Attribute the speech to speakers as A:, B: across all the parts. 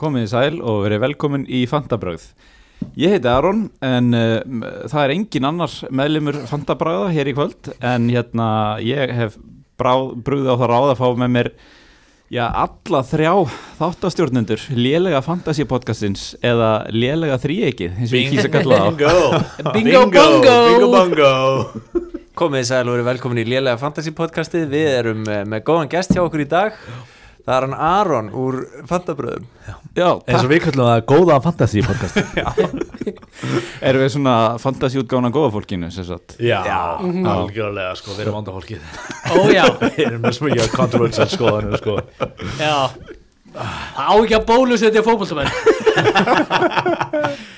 A: Komið í sæl og verið velkomin í Fantabröð. Ég heiti Aron en uh, m- það er engin annars meðlumur Fantabröða hér í kvöld en hérna ég hef bráð, brúðið á það ráð að fá með mér já, alla þrjá þáttastjórnendur lélega Fantasy podcastins eða lélega þríeikið eins og ég kýsa kalla það á.
B: Bingo
C: Bingo bongo.
B: Bingo bongo
C: Komið þið sæl og verið velkomin í Lélega Fantasy podcastið Við erum eh, með góðan gest hjá okkur í dag Það er hann Aron úr Fantabröðum
A: Já,
B: eins og
A: takk.
B: við kallum það góða fantasy podcast
A: Erum við svona Fantasy útgána góða fólkinu sem sagt.
B: já, algjörlega sko, við erum andafólkið
D: Ó já,
B: við erum með svo mikið kontroversial skoðanir sko.
D: já Það á ekki að bólusetja fótboltamenn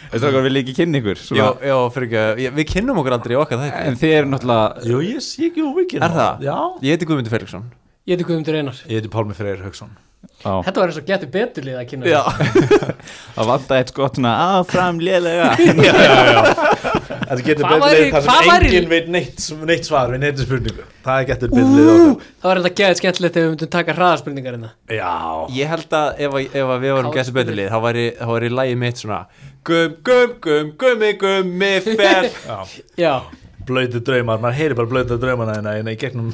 A: Þetta er okkar vil ég ekki kynna ykkur.
C: Já,
A: svona.
C: já, fyrir ekki að- ég- Við kynnum okkur aldrei í okkar þetta
A: En þið eru náttúrulega,
B: jú, ég sé ekki úr vikið
C: Er það?
B: já
C: Ég heiti Guðmundur Felixson
D: Ég heiti Guðmundur Einar
B: ég heiti Pálmi Freyr Haugsson
A: á,
D: Þetta var eins og getur betur lið að kynna Já,
A: það vantaði eitt skott svona áfram lélega.
B: já, já, já þetta getur
D: Hvað
B: betur
D: væri-
B: leið þar
D: hvað
B: sem
D: væri-
B: enginn veit neitt, neitt svar við neitt spurningu það getur betur leið okkar
D: Það var eitthvað getur skemmtilegt ef við myndum taka hraðaspurningar hérna
B: já
C: Ég held að ef, að- ef að við varum
D: Kátur.
C: gæstu betur lið Þá væri, þá væri lægi mitt svona Gum, gum, gum, gummi, gummi, fer
D: Já,
B: blöytu draumar, maður heyri bara blöytu draumana hérna hérna í gegnum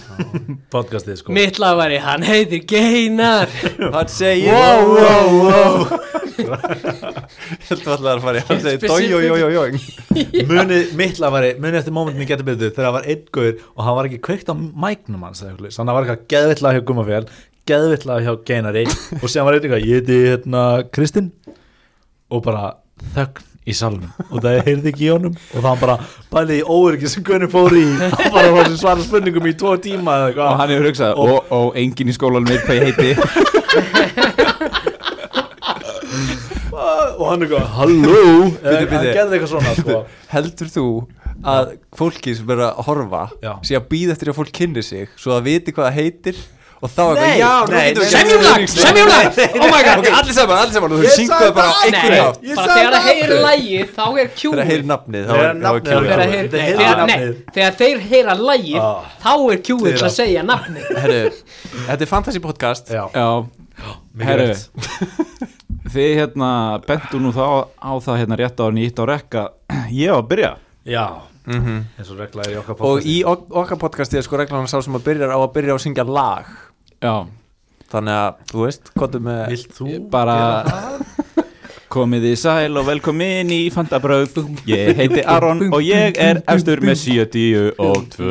B: podcastið sko
D: mitt lag væri Hann heitir Geinar
C: Hann segir Wow, wow, wow Heldur alltaf að fara í Hann segir Dói, jó, jó, jó, jó
B: munið mitt lag var munið eftir mómentin í getur betur þegar það var einn gaur og hann var ekki kveikt á mæknum hans eða eitthvað svoleiðis. þannig að það var eitthvað geðvill lag hjá Gummafél geðvill lag hjá Geinari og síðan var eitthvað ég heiti hérna Kristinn og bara þögn í salnum og það heyrði ekki í honum og það var bara bælið í óöryggi sem Gunni fór í hann bara var sem svara spurningum í tvo tíma eða
A: og
B: eitthvað
A: hann hefur hugsað og, og, enginn í skólanum veit hvað ég heiti
B: og hann eitthvað halló eða
C: Bíddu,
B: hann
C: bíddu.
B: gerði eitthvað svona sko.
C: Heldur þú að fólki sem er að horfa
B: Já.
C: sé að býða eftir að fólk kynni sig svo það viti hvað það heitir og þá eitthvað,
B: Nei,
C: já, nú
B: nei,
C: getum við
B: nei,
C: gert
D: Semjum lag,
C: stuðningslag."
D: semjum lag.
C: Nei, nei,
D: Oh my god.
C: Ok, allir saman, allir saman og þú
B: Ég
C: syngur
B: sagði
C: það bara á
B: það.
C: einhvern
D: Nei,
C: hátt
B: Ég
D: bara
B: sagði
D: þegar
B: það
D: það heyrir
B: aftur.
D: lagið þá er
C: Þegar
D: kjúið
C: heyri nafnið þá
B: Þegar
C: er- þá er
B: nafnið
C: kjúið.
B: er-
D: Þegar,
B: Þegar þeir
D: heyr, þegar,
B: heyra
D: nei,
B: nafnið.
D: þegar þeir heyra lagið
B: Ah.
D: þá er
B: Þeir
D: kjúið
B: að-
D: að segja nafni
C: Herru, þetta er fantasy podcast
B: já,
A: já,
B: mikið
A: herru
B: rétt.
A: þið hérna bentu nú þá á það hérna rétt á nýtt á rekka ég var að byrja
B: já eins Mhm. og regla er í okkar
C: og
B: podcasti
C: í ok okkar podcasti er sko reglan sá sem að byrjar á að byrja á að syngja lag
A: já,
C: þannig að, þú veist, hvað er með
B: vilt þú
A: bara komið í sæl og velkomin í Fantabröð ég heiti Aron og ég er efstur með 70 og 2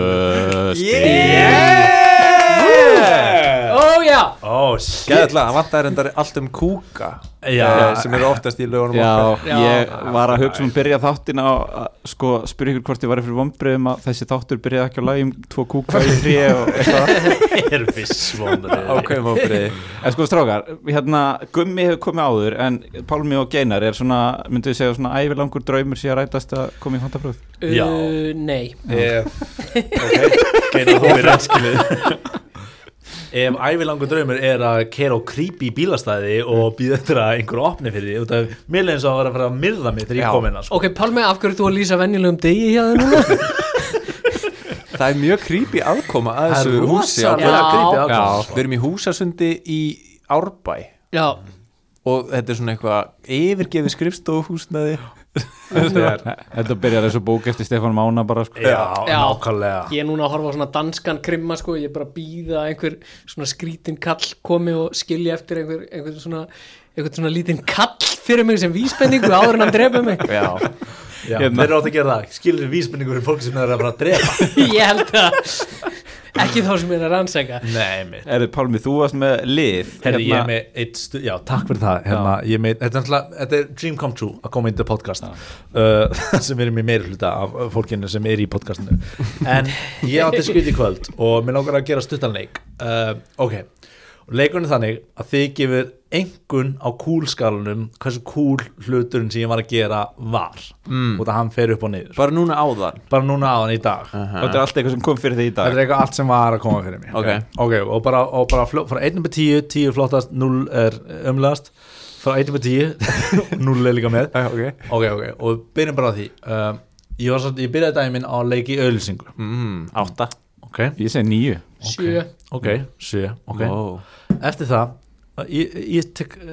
B: yeah!
D: Ó já,
B: oh shit
C: Gæðla, það vantar endar allt um kúka
B: Já.
C: eh, sem eru oftast í lögunum
A: Já,
C: okkar
A: ég var að hugsa um að byrja þáttin á að sko spyrja ykkur hvort ég var fyrir vombriðum að þessi þáttur byrjaði ekki á lagi um tvo kúka í trí og eitthvað
B: er viss vonbrigði.
C: ákveðum á breið
A: En sko strákar, hérna Gummi hefur komið áður en Pálmi og Geinar er svona, myndu við segja svona ævilangur draumur sé að rætast að koma í fantabröð
B: Já.
D: Uh, nei
B: Ef Ok, geinar þú er eskilið Ef ævilangur draumur er að kera á creepy bílastæði og býða eftir að einhver opni fyrir því út af mér leiðins að það var að fara að myrða mig þegar
C: Já.
B: ég kom hérna sko.
D: Ok, Pálmi, af hverju ert þú að lýsa venjulegum degi hjá þér núna?
C: Það er mjög creepy aðkoma að
B: Það er
C: þessu húsi á
B: rosalega
D: Já.
B: creepy
D: Já.
B: aðkoma,
C: Við
B: sko.
C: erum í húsasundi í Árbæ
D: Já,
C: og þetta er svona eitthvað yfirgefi skrifstofuhúsnaði
B: Þetta er-
A: Þetta byrjar þessu bók eftir Stefán Mána bara sko
B: Já,
D: Já.
B: nákvæmlega
D: ég er núna að horfa á svona danskan krimma sko, ég er bara að býða einhver svona skrítin kall komi og skilja eftir einhver, einhver svona einhvern svona lítinn kall fyrir mig sem vísbendingu áður en hann drepa mig
C: Já,
B: Já,
A: Hérna.
B: Þeir eru átt að gera það, skilur vísbendingur um fólk sem þeir eru að fara að drepa
D: Ég held að ekki þá sem ég er að rannsaka
B: Nei, mitt
A: Er þið Pálmi, þú varst með lið hérna.
B: Herri, ég er með eitt stu, Hérna- já, takk fyrir það hérna, ég er með, þetta er náttúrulega, þetta er dream come true að koma inn til podcast uh, sem erum í meiri hluta af uh, fólkinu sem er í podcastinu en ég átti skrið í kvöld og mér langar að gera stuttan leik uh, ok, og leikurinn er þannig að þið gefur engun á kúlskalunum hversu kúl hluturinn sem ég var að gera var mm. og það hann fer upp og niður
C: bara núna áðan
B: bara núna á hann í dag
A: Þetta er allt eitthvað sem kom fyrir þig í
B: Þetta
A: dag
B: er eitthvað allt sem var að koma fyrir mig
C: Ok.
B: og bara, og bara fló, frá 1 upp 10, 10 flottast, 0 er umlegast frá 1 upp 10 0 er líka með
C: Já, ok.
B: ok, ok, og við byrjum bara á því um, ég, var, svolítið- ég byrjaði daginn minn á leiki ölsingu
C: mm, Átta
B: ok,
A: Ég segi nýju
D: Sjö
B: ok, 7 ok
C: Ó.
B: eftir það ég, ég tek uh,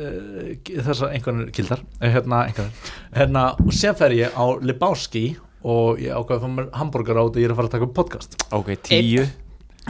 B: þessar einhvernir kildar eh, hérna, einhvernir hérna, og sem fer ég á Lebowski og ég ákvaði að fá mér hambúrgar á þetta ég er að fara að taka upp podcast
C: ok, tíu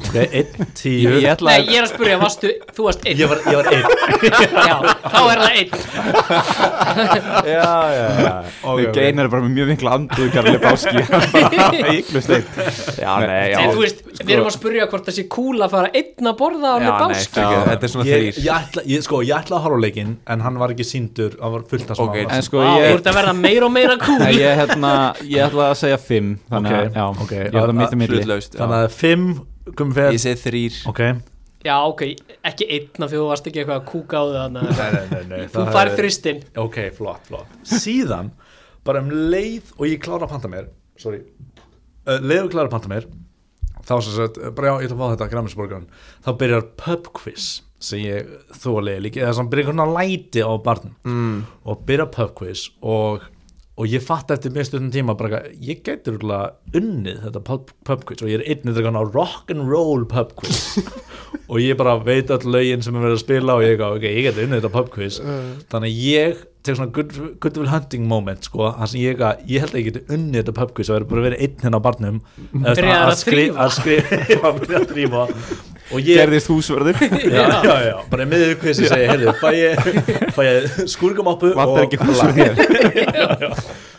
B: ok, einn, tíu
A: Ég, ég ætla
D: Nei,
A: að
D: ég er að spyrja, varstu, þú varst einn
B: ég var, ég var einn
D: Já, þá er það einn
C: já, já, já
A: okay,
B: ok.
A: Gein er bara með mjög mikla anduðgar Lebowski hann bara eiklust eitt Já, nei,
D: En þú veist, við erum að spyrja hvort það sé cool að fara einn að borða á
C: Já,
D: með
C: nei,
D: báski
C: fyrirgefðu, þetta er svona
B: ég,
C: þrýr
B: ég, ætla, ég, sko, ég ætla að horfa á leikinn en hann var ekki síndur, hann var fullt að smá
C: Ok,
A: En
B: okay.
A: sko,
D: Vá, Þú
A: ég,
D: ert að verða meira og meira cool
A: nei, ég, hérna, ég ætla að segja fimm Þannig að,
B: Ok,
A: já,
B: ok.
A: ég ætla að mitt í milli
C: hlutlaust já.
B: þannig að fimm kom fyrir
C: ég segi þrýr
B: ok nei,
D: Já, ok, ekki einn af því þú varst ekki eitthvað að kúka á þau þannig að-
B: nei, nei, nei,
D: Þú
B: það
D: fær
B: hefði-
D: þristinn
B: ok, flott, flott síðan, bara um leið og ég klára að panta mér sorry, uh, leið og ég klára að panta mér þá sem sagt, uh, bara já, ég ætla að fá þetta græmisborgarinn, þá byrjar pub quiz sem ég þólega líka eða sem byrjar einhvern veginn að læti á barnum mm. og byrjar pub quiz og, og ég fatt eftir mjög stundum tíma bara að ég gæti rúglega unnið þetta pub, pub quiz og ég er einnið þetta kannar rock'n'roll pub quiz og ég bara veit all lögin sem er verið að spila og ég, eitthvað, ok, ég gæti unnið þetta pub quiz þannig að ég tek svona good, good will hunting moment sko, þar sem ég, að- ég held að ég geti unnið þetta pub quiz og verið bara verið einn hérna á barnum eða svona
D: Byrjaðir að
B: skri-
D: þrífa.
B: að skrifa já, byrja að þrýfa og ég
A: Gerðist húsverður
B: já, já, já, bara miður hvað sem segja heyrðu, fæ ég, fæ ég skúrgamappu
A: Vantar ekki húsverð hér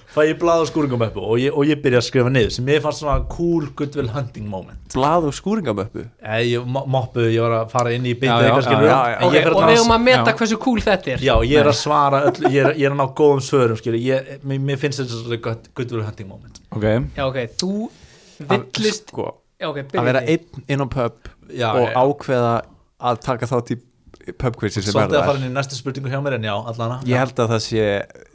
B: fæ ég blað og skúrgamappu og ég, og ég byrja að skrifa niður sem ég fannst svona cool goodwill hunting moment
C: blað og skúringamöppu
B: Eh, ég mo- moppu, ég var að fara inn í
A: Já,
B: byndið
A: já,
B: eitthvað skilur
C: já, já, já.
B: en
D: Ok,
B: ég fer að
D: og við
B: trans-
D: erum að
A: já.
D: meta hversu cool þetta er
B: já, ég er að svara öll, ég, er, ég er að ná góðum svörum skilur ég, mér, mér finnst þetta svona good- goodwill hunting moment
A: Ok,
D: Já, ok, þú villist
C: sko,
D: Já, ok,
C: að vera
D: byrjaði
C: einn inn á pub
B: Já,
C: og
B: já.
C: ákveða að taka þátt í pub quizi sem
B: svolítið
C: verða
B: að fara inn í næstu spurningu hjá mér en já, allana
C: ég held að það sé,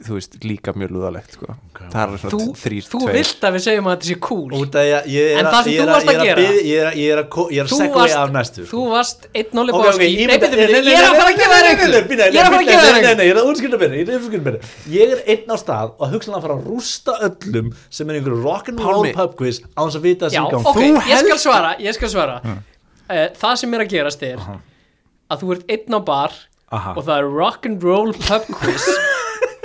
C: þú veist, líka mjög lúðalegt sko. það er
D: Þú,
C: svona þrýr,
D: þú
C: tveir
D: vilt að við segjum að þetta sé cool
B: Út að ég, ég er
D: En það sem
B: ég er
D: þú varst að
B: ég er
D: gera.
B: bið- Ég er að, ég er að, ko- ég er að
D: Þú
B: segja
D: varst-
B: af næstu
D: Þú varst einn og
B: Ok,
D: lepa á
B: ok,
D: ský Nei,
B: ímynda-
D: betur, betur,
B: nei,
D: ég er
B: nei,
D: að fara að
B: nei,
D: gefa
B: nei,
D: þér
B: nei,
D: einhver
B: nei, nei,
D: Ég er að fara
B: nei, nei,
D: að gefa þér
B: nei,
D: einhver
B: nei, Ég er að útskýrta mér, ég er að útskýrta mér Ég er einn á stað og hugsanlega að fara að rústa öllum sem er einhverju rock'n'roll
C: Pálmi.
B: pub quiz á hans að vita þessi
D: Já,
B: gang
D: ok,
B: Þú
D: ég skal svara, ég skal svara Eh, Það sem er að gerast er að þú ert einn á bar
B: Aha.
D: og það er rock'n'roll pub quiz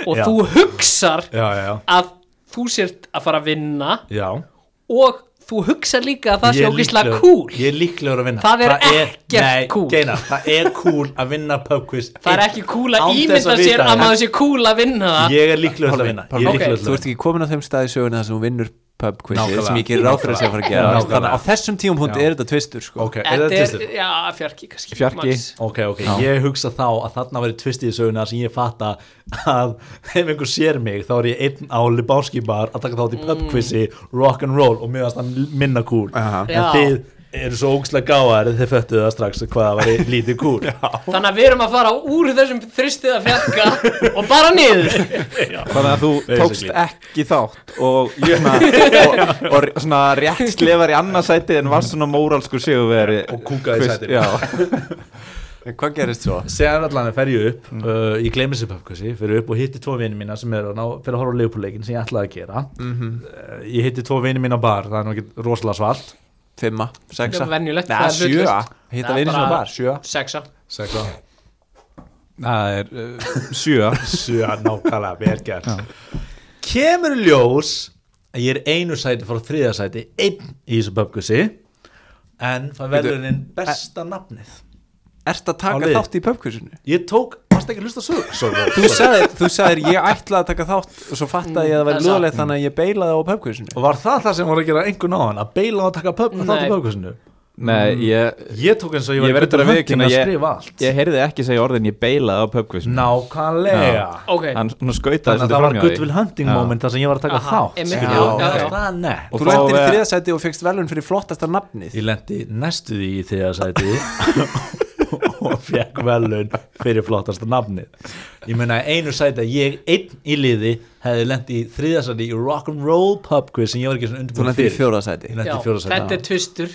D: og
B: Já.
D: þú hugsar
B: Já, já, já
D: að þú sért að fara að vinna
B: Já
D: og þú hugsar líka að það
B: Ég
D: sé
B: er
D: ógislega
B: líklegur-
D: cool
B: Ég er líklegur að vinna
D: Það er ekkert cool.
B: Nei, geina, það er cool að vinna pub quiz
D: Það er ekki cool að
B: Án þess
D: ímynda
B: að
D: sér
B: vita
D: að
B: það.
D: maður sé cool að vinna það
B: Ég er líklegur að vinna Ég er
D: Ok.
B: líklegur að
C: þú ert
B: vinna
C: ekki komin á þeim stað í söguna þar sem hún vinnur pub quizi
B: Nákvæmlega.
C: sem ég gerir ráð fyrir að sé að fara að gera
B: Nákvæmlega.
C: þannig að á þessum tíum hún er þetta tvistur sko.
B: Ok, er
D: Þetta
B: það
D: er,
B: tvistur?
D: já, fjarki kannski
A: Fjarki.
D: max.
B: Ok, ok, ég hugsa þá að þarna verið tvist í söguna sem ég fatta að ef einhver sér mig þá er ég einn á Lebowski bar að taka þátt í
D: Mm.
B: pubquizi rock'n'roll og mér varst hann minna cool
C: Aha.
B: en
D: Já.
B: þið eru svo ógslega gáðar þið föttuðu það strax hvað það væri lítið cool
D: Þannig að við erum að fara úr þessum þristið að fjarka og bara niður
A: þannig að þú tókst
B: Basically.
A: ekki þátt og, svona, og, og svona rétt slefar í annarsæti en var svona móralskur sigurveri
B: Og kúkaði í
A: Hvist-
B: sætinu.
A: Já,
C: en hvað gerist svo?
B: Segar allan að ferju upp,
A: Mm.
B: uh, ég gleymi sér pubquizzi, fyrir upp og hitti tvo vini mína sem er að ná, fyrir að horfa á leifupúleikin sem ég ætlaði að gera
A: Mhm.
B: uh, Ég hitti tvo vini mína á bar, það er nú ekki rosalega svalt
C: Fimma, sexa,
D: Það er venjulegt,
C: Nei,
D: það er
C: sjö
D: hlutlaust.
C: hitta
D: Það er
C: vinið sem
D: bara-
C: bar, sjö
D: Sexa
B: Sækla
A: það er uh, sjö
B: Sjö, nákvæmlega, vel gert Kemur í ljós að ég er einu sæti frá þriða sæti einn í þessu pubquizzi en það
C: Bíddu,
B: verður einn besta nafnið
C: ert að
B: Á
C: taka
B: lið.
C: þátt í pub quizinu
B: Ég tók, varst ekki að hlusta sögur
C: þú sagðir, þú sagðir ég ætlaði að taka þátt og svo fattaði ég að það
D: Mm, það
C: væri
D: er
C: lögulegt þannig að ég beilaði á pubquizinu
B: Og var það það sem voru að gera einhvern á hann að beila og taka pub, þátt í
D: Nei.
B: pubquizinu
A: Nei,
B: Mm.
A: ég,
B: Ég tók eins og ég
A: ég
B: var
A: verður að viðkynna
B: að
A: ég,
B: skrifa allt
A: ég heyrði ekki segja orðin ég beilaði á pubquiz
B: Nákvæmlega
A: Já.
D: Ok,
A: hann svona skautaði
B: Þannig að
A: svolítið
B: það var
A: framhjá
B: good will hunting
A: Já.
B: moment þar sem ég var að taka
D: Aha,
B: þátt
D: einmitt,
B: skilurðu.
C: já,
B: Og
C: já,
B: það
D: já.
B: er nett.
A: Og
C: þú
A: þá
C: lendir í
A: er-
C: þriðasæti og fegst velun fyrir flottasta nafnið
B: Ég lendi næstu því í þriða sæti og fekk velun fyrir flottasta nafnið. Ég meina einu sæti að ég einn í liði hefði lendi í þriða sæti í rock'n'roll pub quiz sem ég var ekki svona
C: þú
B: undirbúin
C: lendir í
B: fyrir.
C: fjóðasæti
B: Ég lendi
D: já,
B: í fjóra
D: þetta
B: sæti.
D: er tvistur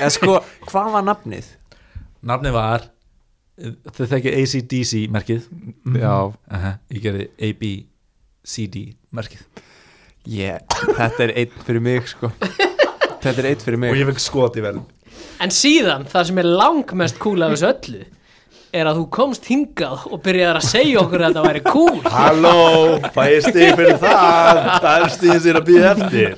C: en sko, hvað var nafnið?
B: Nafnið var, þau þekkið ACDC merkið,
A: Mm. Já,
B: Aha, ég gerði ABCD merkið.
C: Yeah. Þetta er einn fyrir mig sko Þetta er einn fyrir mig
B: ég fekk skot í velun.
D: En síðan, það sem er langmest cool af þessu öllu er að þú komst hingað og byrjaðar að segja okkur að þetta væri cool
B: Halló, fæst þig fyrir það Það er stíðin sér að býða eftir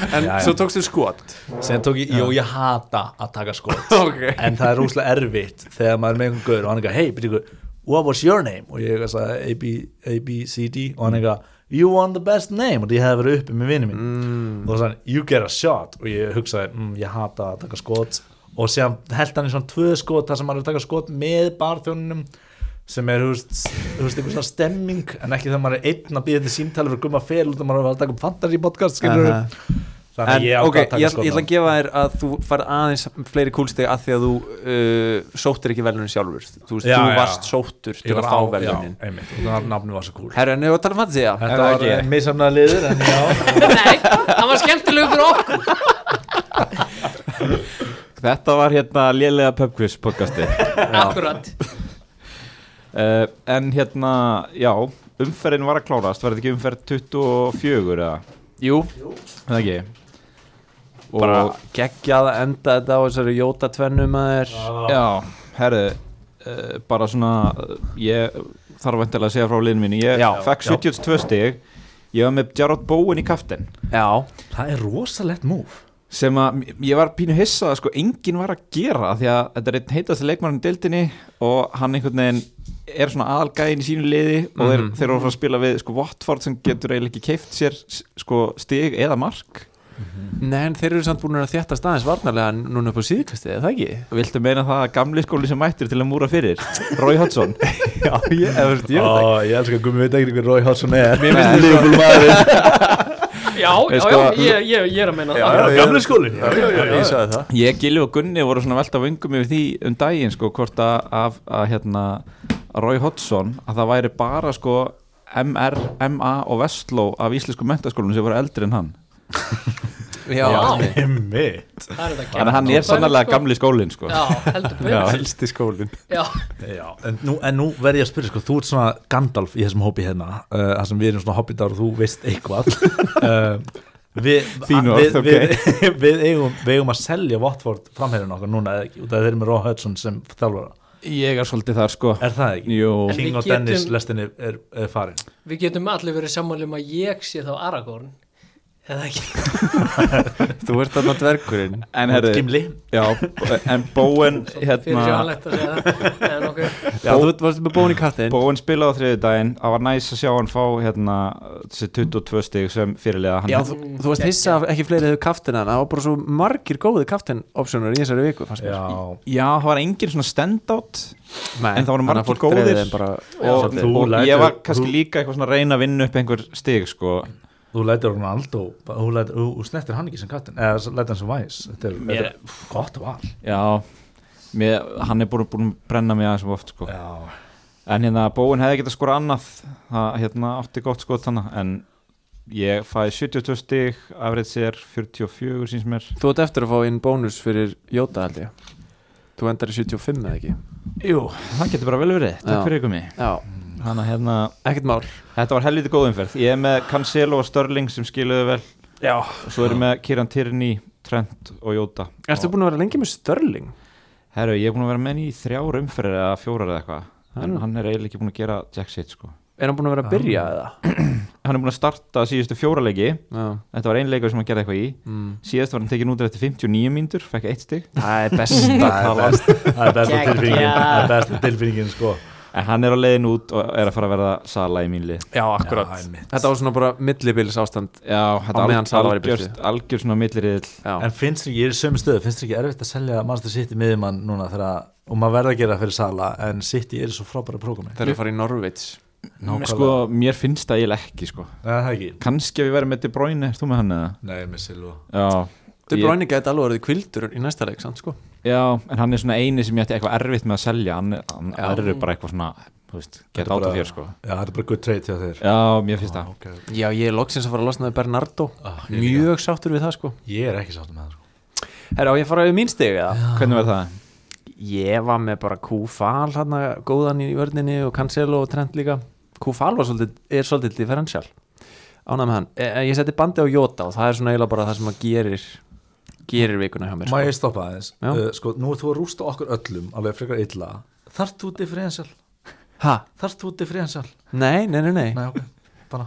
C: En
B: Já, já.
C: svo tókstu skot
B: Sen tók ég, jú ég hata að taka skot
C: Ok.
B: En það er rúslega erfitt Þegar maður er með einhvern gaur og hann eitthvað Hey, byrju, what was your name? Og ég eitthvað sagði A, B, A, B, C, D Og hann eitthvað You won the best name Og því ég hefði verið uppi með vinnu mín mm. Og þannig, you get a shot Og ég hugsaði, mm, ég hata að taka skot Og síðan held hann í svona tvö skot þar sem maður er að taka skot með barþjóninum sem er, þú veist, þú veist, einhver svona stemming en ekki þegar maður er einn að býða þetta símtali fyrir gumma fel út að maður er að taka upp fantasy podcast skilur
C: Aha.
B: þannig
C: En
B: að ég ákvað
C: ok,
B: að taka
C: ég, ætla- ég
B: skotna.
C: ætla að gefa þér að þú farð aðeins fleiri kúlsteg að því að þú uh, sóttir ekki velunin sjálfur Þú, veist,
B: Já,
C: þú
B: já.
C: varst sóttur til
B: Ég
C: að
B: var
C: fá
B: á-
C: velunin
B: já, einmitt, og það var nafnum var svo cool
C: Herra, en ef við talaðum að segja
A: Þetta
B: þetta
A: var
B: var eh,
A: ekki ég.
B: misamnaða liður en já,
D: Nei, það var skemmtilegu fyrir okkur
A: Þetta var hérna lélega pubquiz podcasti
D: Akkurat
A: uh, En hérna, já Umferðin var að klárast, var þetta ekki umferð 24 eða,
C: Jú,
A: er það ekki Og,
C: bara geggjað að enda þetta á þessari jóta tvennum að þér
A: já, herðu uh, Bara svona, uh, ég þarf vantilega að segja frá liðinu mínu Ég
C: Já.
A: fekk
B: Já.
A: 72 stig Ég var með Jarrod Bowen í kaftin
C: Já,
B: það er rosalegt múf
A: sem að ég var pínu hissa að sko enginn var að gera því að þetta er einn heitast leikmann í deildinni og hann einhvern veginn er svona aðalgæðin í sínu liði og þeir, þeir eru að fara að spila við sko Watford sem getur eiginlega ekki keift sér s- sko stig eða mark
C: nei, en þeir eru samt búin að þétta staðins varnarlega núna upp á síðkastið, er það ekki?
A: viltu meina það að gamli skóli sem mættir til að múra fyrir Roy Hodgson
C: Já, ég, eða, veist, ég veit
B: Ó, ég elskar að gummi veit ekki hver Rói Hálsson er
C: Mér finnst
B: lífum maður
D: Já, já, já,
A: sko-
D: ég, ég, ég er að meina það
C: ekki
B: gamle skólin
C: já, ég sagði það
A: ég, Gilvi og Gunni voru svona velta vöngum yfir því um daginn sko hvort að, að, að hérna að Roy Hodgson að það væri bara sko MR, MA og Vestló af íslensku mentaskólunum sem voru eldri en hann
C: Já, já.
B: einmitt
D: Það er þetta
A: Þannig að hann er sannlega gamli skólinn sko.
D: Já, heldur
A: Já.
D: betur
C: helsti skólin
D: Já,
B: Já, en nú, en nú verð ég að spyrja sko, þú ert svona Gandalf í þessum hópi hérna uh, þar sem við erum svona hobbitar og þú veist eitthvað uh, við,
A: Þín
B: að-
A: orð,
B: við, við, við, eigum, við eigum að selja Watford framherjun okkar núna eða ekki út af að þeir eru með Rói Hálsson sem þjálfara
A: Ég er svolítið þar sko.
B: er það ekki?
A: Jú,
D: En við
B: King og
D: getum-
B: Dennis lestin er, er, er farin
D: við getum allir verið sammáli um að ég sé þá Aragorn Eða ekki
C: Þú ert þarna dvergurinn
A: en herri
B: Gimli
A: já, En Bóen
D: Fyrir
A: hérna,
D: sjálflegt að segja það En okkur
C: Já, þú varst með bóni í kattin
A: Bóen spilaði á þriði daginn Það var næs að sjá hann fá hérna, þessi 22 stig sem fyrirlega hann
C: Já, þú, þú varst hissa að ekki fleiri hefur kaftin hann Það var bara svo margir góði kaftin opsjónur í þessari viku fannst mér
B: Já,
A: Já, það var engin svona standout
C: Nei,
A: En það voru
C: þannig að
A: margir
C: fólk dreifði
A: góðir.
C: þeim bara,
A: og,
B: þú
A: og
B: lætur-
A: ég var kannski
B: þú-
A: líka eitthvað svona að reyna að vinna upp einhver stig sko.
B: þú lætir Ronaldo þú, lætir, þú, þú snertir hann ekki sem kattin eða s- lætir hann sem væs þetta er,
D: Mér-
B: þetta er gott val
A: Já mér, Hann er búin, búin að brenna mig aðeins of oft sko. En hérna, Bóin hefði getað skora annað það hérna, átti gott skot þannig en ég fæði 72 stig afrið sér 44 síns mér
C: Þú ert eftir að fá inn bónus fyrir Jóta held ég Þú endar í 75 eða ekki
A: Jú, það getur bara vel verið, takk
C: Já.
A: fyrir ykkur mig
C: Já,
A: Þannig að hérna,
C: ekkert mál
A: þetta var helviti góð umferð Ég er með Cancelo og Störling sem skiluðu vel
B: já,
A: og svo er ég með Kiran Tierney, Trent og Jóta
C: Ertu búin að vera lengi með Störling?
A: Herru, ég er búin að vera með hann í þrjár umferðir eða fjórar eða eitthvað en
C: Mm.
A: hann er eiginlega ekki búin að gera jack shit sko
C: Er hann búin að vera að byrja eða?
A: Hann er búin að starta síðustu fjóralegi
C: Já
A: Þetta var einleikur sem hann gerði eitthvað í
C: mm.
A: Síðast var hann tekin út eftir 59 mínútur, fekk eitt stig
C: Það er best að
B: það er
C: tala
B: best það er besta
D: Geggjað.
B: tilfinningin það er besta tilfinningin sko
A: En hann er á leiðin út og er að fara að verða sala í mín lið
C: Já, akkurat
B: Já, einmitt.
C: Þetta var svona bara millibils ástand
A: Já,
C: Á
A: þetta
C: meðan Sala var í
A: algjör,
C: burtu.
A: algjör svona milliriðil
C: Já,
B: en finnst þér ekki, ég er í sömu stöðu finnst þér ekki erfitt að selja Manchester City miðjumann núna þegar að, og maður verða að gera það fyrir Sala en City er svo frábæra prógami
C: þegar þú farið í Norvits
B: Nákvæmlega.
A: Sko, mér finnst það eiginlega ekki sko.
B: það er ekki
A: Kannski að við verðum með De Bruyne, erst þú með hann eða?
B: nei, með Silva
A: Já,
C: Þau
A: Ég-
C: bráinni gæti alveg orðið kvildur í næsta leik, sant sko?
A: já, en hann er svona eini sem ég ætti eitthvað erfitt með að selja Hann, hann
C: Já.
A: aðrir eru bara eitthvað svona, þú veist,
B: Þetta
A: geta
B: er
A: át
B: bara-
A: af þér sko
B: já, það er bara good trade hjá þér
A: Já, mér finnst það
B: okay.
C: Já, ég er loksins að fara að losna við Bernardo
B: Ah, ég
C: Mjög sáttur við það, sko
B: ég er ekki sáttum með það sko.
C: Herra, á ég að fara við mín stig eða?
A: Hvernig verð það?
C: Ég var með bara Kúfal hann góðan í vörninni og Cancelo og Trent líka Kúfal svolítið, er svolítið differential ánægð með hann, e, e, ég seti bandi á Jota og það er svona eiginlega bara það sem að gerir gerir vikuna hjá mér
B: Má
C: sko.
B: ég stoppa aðeins?
C: Já.
B: Uh, sko, nú er þú að rústa okkur öllum alveg frekar illa Þarf þú differential?
C: ha,
B: Þarf þú differential?
C: nei, nei, nei, nei.
B: Nei, ok, bara,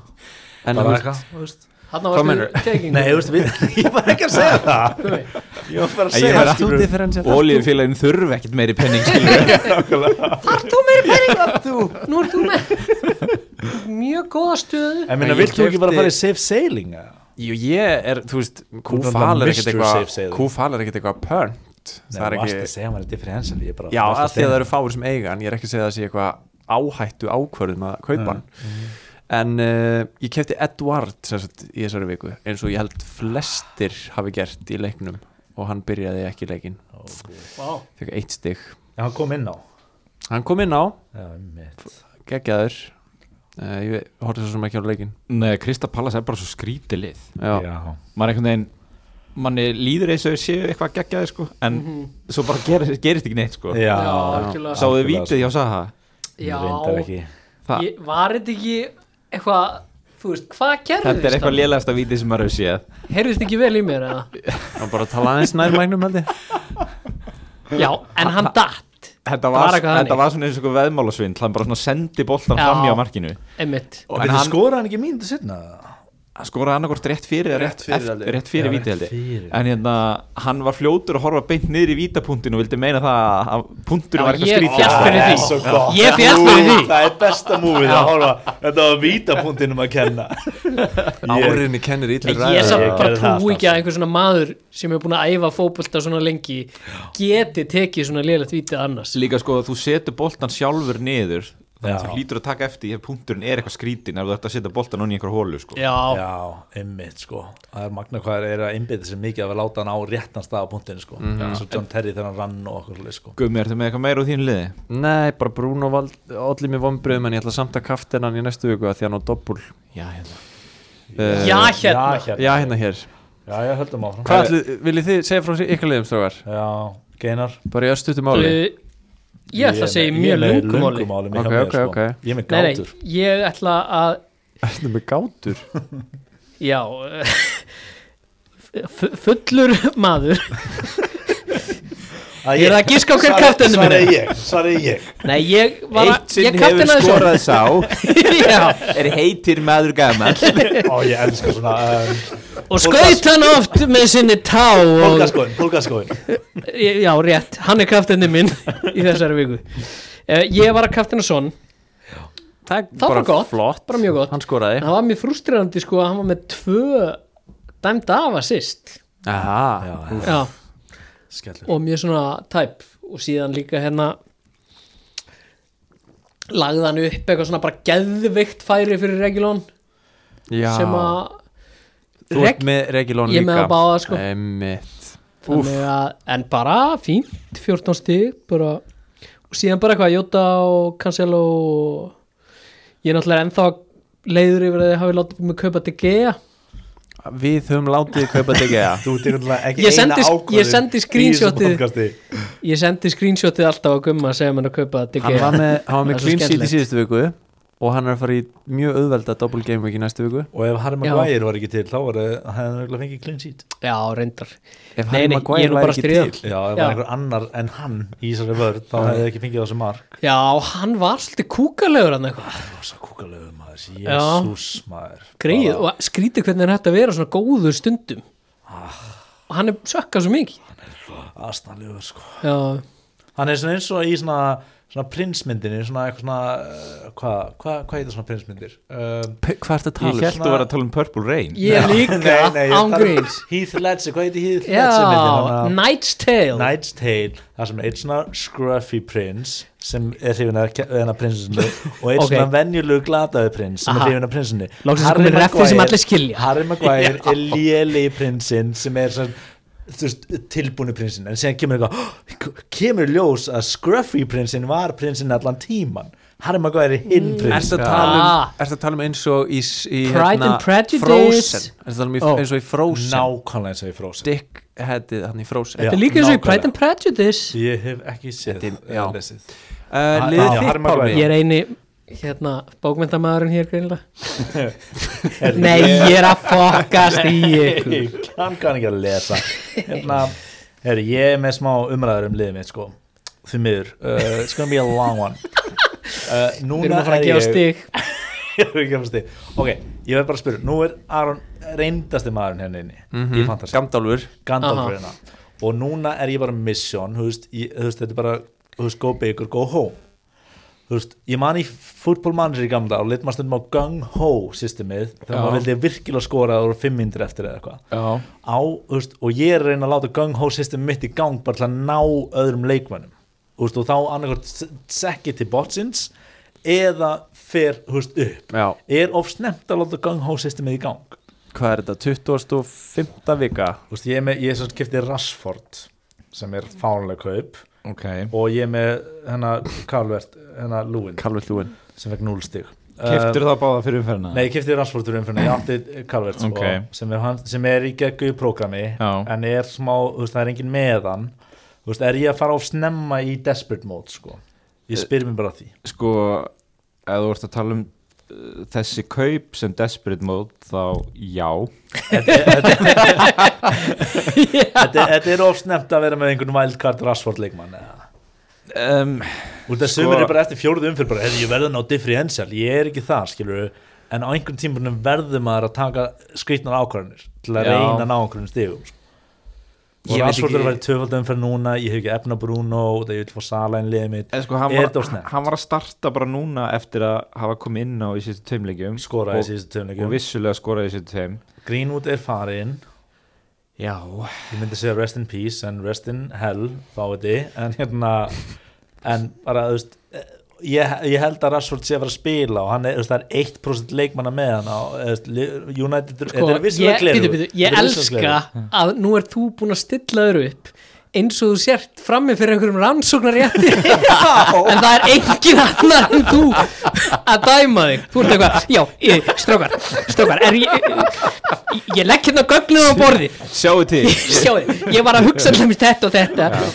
C: en
B: bara
C: þú veist,
B: eitthvað, þú veist
D: Hanna
C: Hvað
D: var
C: meinarðu?
D: teking
B: Nei, þú veist, við, ég var ekki að segja það Ég var bara að
A: En ég
B: segja
A: var
B: það,
A: aftur-
C: þú
B: skilurðu.
C: differential
A: Ólíufélagin þurfi ekkert meiri penning skilur
D: Þar þú meiri peningar þú Nú ert þú með Mjög góða stöðu
B: En minna,
C: Ég
B: vilt þú ekki bara
C: keypti-
B: fara í safe sailing? eða?
C: Jú, ég er, þú veist,
B: náttúrulega
C: kúfal er
B: Mr.
C: ekkert
B: Safe
C: eitthvað
B: segir þú.
C: kúfal er ekkert eitthvað pönt
B: Nei,
C: það er
B: þú varst að
C: ekki,
B: segja maður differential ég bara-
C: já,
B: þú varst
C: af því að
B: segja-
C: það eru fáir sem eiga en ég er ekki að segja að það sé eitthvað áhættu ákvörðum að kaupa hann en uh, ég kefti Edward sem sagt, í þessari viku, eins og ég held flestir hafi gert í leiknum og hann byrjaði ekki leikin,
D: Vá.
C: fekk eitt stig
B: Já, hann kom inn á
C: hann kom inn á,
B: Já, mitt
C: geggjaður uh, ég horfði svo sem ekki á leikin
A: Nei, Krista Pallas er bara svo skrítið lið
C: já,
B: Já,
A: Maður einhvern veginn manni líður eins og þau séu eitthvað geggjaði sko en svo bara gerist, gerist ekki neitt sko
B: já,
D: Mhm. Já, algjörlega. sko.
A: Sáðu vítið hjá Saha
D: Já,
B: Reyndar ekki
A: Það-
D: ég, var þetta ekki eitthvað Þú veist, hvað gerðist?
A: Þetta er eitthvað lélegasta vítið sem maður hefur séð
D: Heyrðist ekki vel í mér eða?
C: hann bara talaði aðeins nær mægnum held ég
D: Já, en hann datt
A: Þetta
D: var
A: var,
D: eitthvað
A: þetta
D: þannig.
A: var svona eins og eitthvað veðmálasvind hann bara svona sendi boltan
D: Já.
A: fram í á markinu
D: Emmitt
B: Og
A: En
B: við
A: hann-
B: skoraði hann ekki mínútu sinna
A: hann skoraði annarkort rétt fyrir eða rétt,
B: Rétt fyrir,
A: eftir,
B: held ég.
A: rétt fyrir
B: Já,
A: víti
B: rétt
A: held ég
B: fyrir.
A: en hérna, hann var fljótur að horfa beint niður í vítapunktinu og vildi meina það að punkturinn
D: Já,
A: var eitthvað
D: ég
A: skrítið
D: féll fyrir því.
B: svo gott.
D: Ég féll
B: Ú,
D: fyrir því.
B: Það er besta múið að horfa Þetta var vítapunktinum að kenna
C: árinni kennir
D: Ég
C: illir
D: er
B: samt
D: samt
B: Ég
D: bara
B: gerði það
D: trú ekki
B: alltaf.
D: að einhver svona maður sem er búin að æfa fótbolta svona lengi geti tekið svona lélegt vítið annars
A: líka sko, þú setur boltan sjálfur niður þannig að
B: Já.
A: þú hlýtur að taka eftir ef punkturinn er eitthvað skrítið ef þú ert að setja boltan onni í einhver hólu sko.
D: Já,
B: Já, einmitt sko Það er magna hvað er að einbytja sér mikið að við láta hann á réttan stað á punktinu sko
C: Mhm.
B: Svo John Terry þegar hann rann og okkur leið sko
A: Gumi, ertu með eitthvað meira úr þínu liði?
C: Nei, bara Bruno vald, allir mér vonbröðum en ég ætla samt að kafta hennan í næstu viku að því hann á doppul
A: Já, hérna
C: Eh,
B: Já,
D: já hérna
C: Já, hérna hér
B: Já, ég höldum áfram
C: Hvað ætlu, viljið þið segja frá sér ykkur liðum strákar?
B: Já, Geinar
C: Bara í östutu máli
D: Uh, Ég ætla að segja mjög lungumáli
B: lungumáli
C: Ok, ok, ok.
B: sko. Ég er með
D: Nei, nei,
B: gátur
D: ég ætla að
C: Þetta með gátur
D: Já fu- Fullur maður
B: Að
D: Ég er að giska á hver
B: Svar-
D: kapteininn minn er.
B: Svarið ég, svarið ég
D: Nei, ég var að-
A: Eitt sinn
D: ég
A: hefur
D: kapteinaði sjálf.
A: skorað sá
D: Já,
A: er heitir maður gaman
B: Ó, ég elska svona um,
D: Og skaut hann oft með sinni tá og,
B: Pólkaskoðin, pólkaskoðin
D: Já, rétt, hann er kapteinni minn í þessari viku Eh, Ég var að kapteina son
C: Það er
D: Það var gott,
C: flott
D: bara mjög gott
C: Hann skoraði
D: En það var mjög frústrerandi sko að hann var með tvö dæmd af að sýst
C: Aha,
D: Já,
B: Skellur
D: og mjög svona tæp og síðan líka hérna lagði hann upp eitthvað svona bara geðvikt færi fyrir Regulón
C: já
D: sem að
C: Þú ert
D: Reg-
C: með Regilón líka
D: Ég með það báða, sko.
C: Einmitt
D: þannig að, en bara fínt 14 stig bara, og síðan bara eitthvað Jóta og Cancelo og ég er náttúrulega ennþá leiður yfir að þið hafi látið mig kaupa De Gea
C: Við höfum látið kaupa DGA
B: Þú ert einhvern veginn ekki
D: Ég
B: eina
D: sendi- ég
B: ákvörðun
D: sendi
B: í þessu
D: screenshotið.
B: podcasti.
D: ég sendi screenshotið alltaf á gumma að segja mér að kaupa De
C: Hann
D: Gea
C: var með, hann var með
D: Það er
C: clean
D: svo
C: sheet í
D: skemmtilegt.
C: síðustu viku og hann er að fara í mjög auðvelda double game week í næstu viku
B: Og ef Harry
D: Já.
B: Maguire var ekki til þá var það hefði nögglega fengið clean sheet
D: já, reyndar
C: Ef
D: Nei,
C: Harry
D: nei, ég
C: Maguire
D: er
C: væri
D: nú bara að
C: ekki
D: stríða.
C: til-
B: Já, ef
D: Já.
B: var einhver annar en hann í þessari vörð þá hefði ekki fengið þessu mark
D: Já, hann var svolítið kúkalegur hann eitthvað
B: Rosa kúkalegu maður,
D: Já.
B: jésús maður
D: greið
C: Ah.
D: og skrítið hvernig hann hætti að vera svona góður stundum
C: Ah.
D: og hann er sökkað svo mikið
B: Astanlegur sko
D: já,
B: Hann er svona eins og í svona, svona prinsmyndinni Svona eitthvað svona uh, Hvað hva, hva heitir svona prinsmyndir? Um,
C: P- Hvað ertu að tala um?
A: ég held að vera að tala um Purple Rain
D: ég líka
B: Nei, nei, ég
D: án
B: tala um
D: gríns
B: Heath Ledger, hvað heitir Heath
D: já,
B: Ledger myndin? Hann að-
D: Night's Tale
B: Night's Tale það sem er eitt svona scruffy prins sem er hrifin af hennar prinsinu og eitt
D: Ok.
B: svona venjulegu glataði prins sem
D: Aha.
B: er hrifin af prinsinu
D: Loksins komið reffi sem allir skilja.
B: Harry Maguire er léli prinsinn sem er svona þú veist, tilbúni prinsinn en síðan kemur eitthvað "Oh, kemur í ljós að scruffy prinsinn var prinsinn allan tíman Harry Maguire er
D: Mm.
B: hinn
C: Ertu
B: prinsinn
C: að tala
D: Ah.
C: um, ertu að tala um eins og í, s- í hérna,
D: Pride and Prejudice. Oh.
C: Frozen Ertu að tala um í,
D: Ó.
C: eins og í Frozen
B: nákvæmlega eins og í frósin
C: Dickheadið hann í Frozen
B: Já.
D: þetta er líka eins og í
B: nákvæmlega.
D: Pride and Prejudice
B: ég hef ekki séð
C: Þetta er-
B: eða
C: já.
B: lesið.
C: uh,
B: Já,
C: Liðið
B: Harry
C: þitt
B: Maguire.
C: Pálmi
D: ég er eini hérna bókmyndamæðurinn hér greinilega
B: Er-
D: nei, ég er að fokast í ykkur
B: Ég kann kann ekki að lesa hérna, er ég er með smá umræður um liðið mitt sko því miður uh, It's gonna be a long one uh,
D: Við erum
B: Núna
D: að
B: er
D: fara að gefa
B: ég
D: stig
B: Ég er ekki að fá stig. Ok, ég verð bara að spyrja Nú er Aron reyndasti maðurinn hérna inni
C: Mhm.
B: Í fantasy
C: Gamdálfur
B: Gandalf reyna Og núna er ég bara með mission Þú veist, ég- þú veist, þetta er bara Þú veist, go big or go home Þú veist, ég man í fútbol manager í gamla og leitt maður stundum á gung-ho systemið þegar
A: Já.
B: maður vildi virkilega skora og fimm myndir eftir eða eitthvað
A: Já,
B: á, þú veist, og ég er að reyna að láta gung-ho system mitt í gang bara til að ná öðrum leikmönnum þú veist, og þá annarkvort sekki til botsins eða fer þú veist, upp
C: Já,
B: er of snemt að láta gung-ho systemið í gang
C: hvað er þetta, 25. vika
B: þú veist, ég er með, ég er svo skiptið Rashford sem er fánlega kaup
A: ok
B: og ég er með hérna hennar Karlvert, hennar Lúin
C: Kalvið Lúin
B: sem fekk 0 stig Eh,
A: Keftur það báða fyrir umferðina?
B: Nei, ég kefti Rashfordur um fyrir, ég átti Karlvert
A: Ok.
B: sko, sem, er hann- sem er í geggu í prógrami
A: Já.
B: en er smá, þú veist, það er engin meðan þú veist, er ég að fara of snemma í desperate mode, sko ég spyr mér bara að því
A: Sko, ef þú ert að tala um uh, þessi kaup sem desperate mode þá já
B: Þetta, þetta er of snemt að vera með einhvern wildcard Rashford leikmann eða.
A: um,
B: Úr það
A: Sko-
B: sumir er bara eftir fjóruð umfyrir bara, "Heyrðu, ég verða að ná differential, ég er ekki það, skilur en á einhvern tímpunum verður maður að taka skrýtnar ákvarðanir til að
A: Já.
B: reyna að ná einhvern stigum sko.
D: Ég
B: og
D: veit
B: Rashford er að
D: ekki-
B: vera tvöfald umfyrir núna ég hef ekki efna Bruno, það ég vil fá Sala inn í liðið mitt,
A: En sko, hann
B: Er þetta of
A: var,
B: snemmt?
A: hann var að starta bara núna eftir að hafa komið inn á í síðustu tveimleikjum
B: skoraði
A: og,
B: síðustu
A: og
B: töfnleikum
A: vissulega skoraði í síðustu tveim
B: Greenwood er farinn,
A: Já,
B: ég myndi segja rest in peace en rest in hell, fáiði en hérna en bara, þú veist eh, Ég, ég held að Rashford sé að vera að spila og hann er, þú veist, það er 1% leikmanna með hann á, eh, þú veist, li- United
D: sko,
B: þetta er vissulega
D: ég,
B: gleru
D: bíddu, bíddu, ég elska að nú er þú búin að stilla þér upp eins og þú sért frammi fyrir einhverjum rannsóknarjætti en það er engin annar en þú að dæma þig þú ert eitthvað, já, ég, strákar strákar, er ég ég, ég legg hérna gögnum á borðið
A: sjáu til
D: sjáðu, ég var að hugsa um þetta og þetta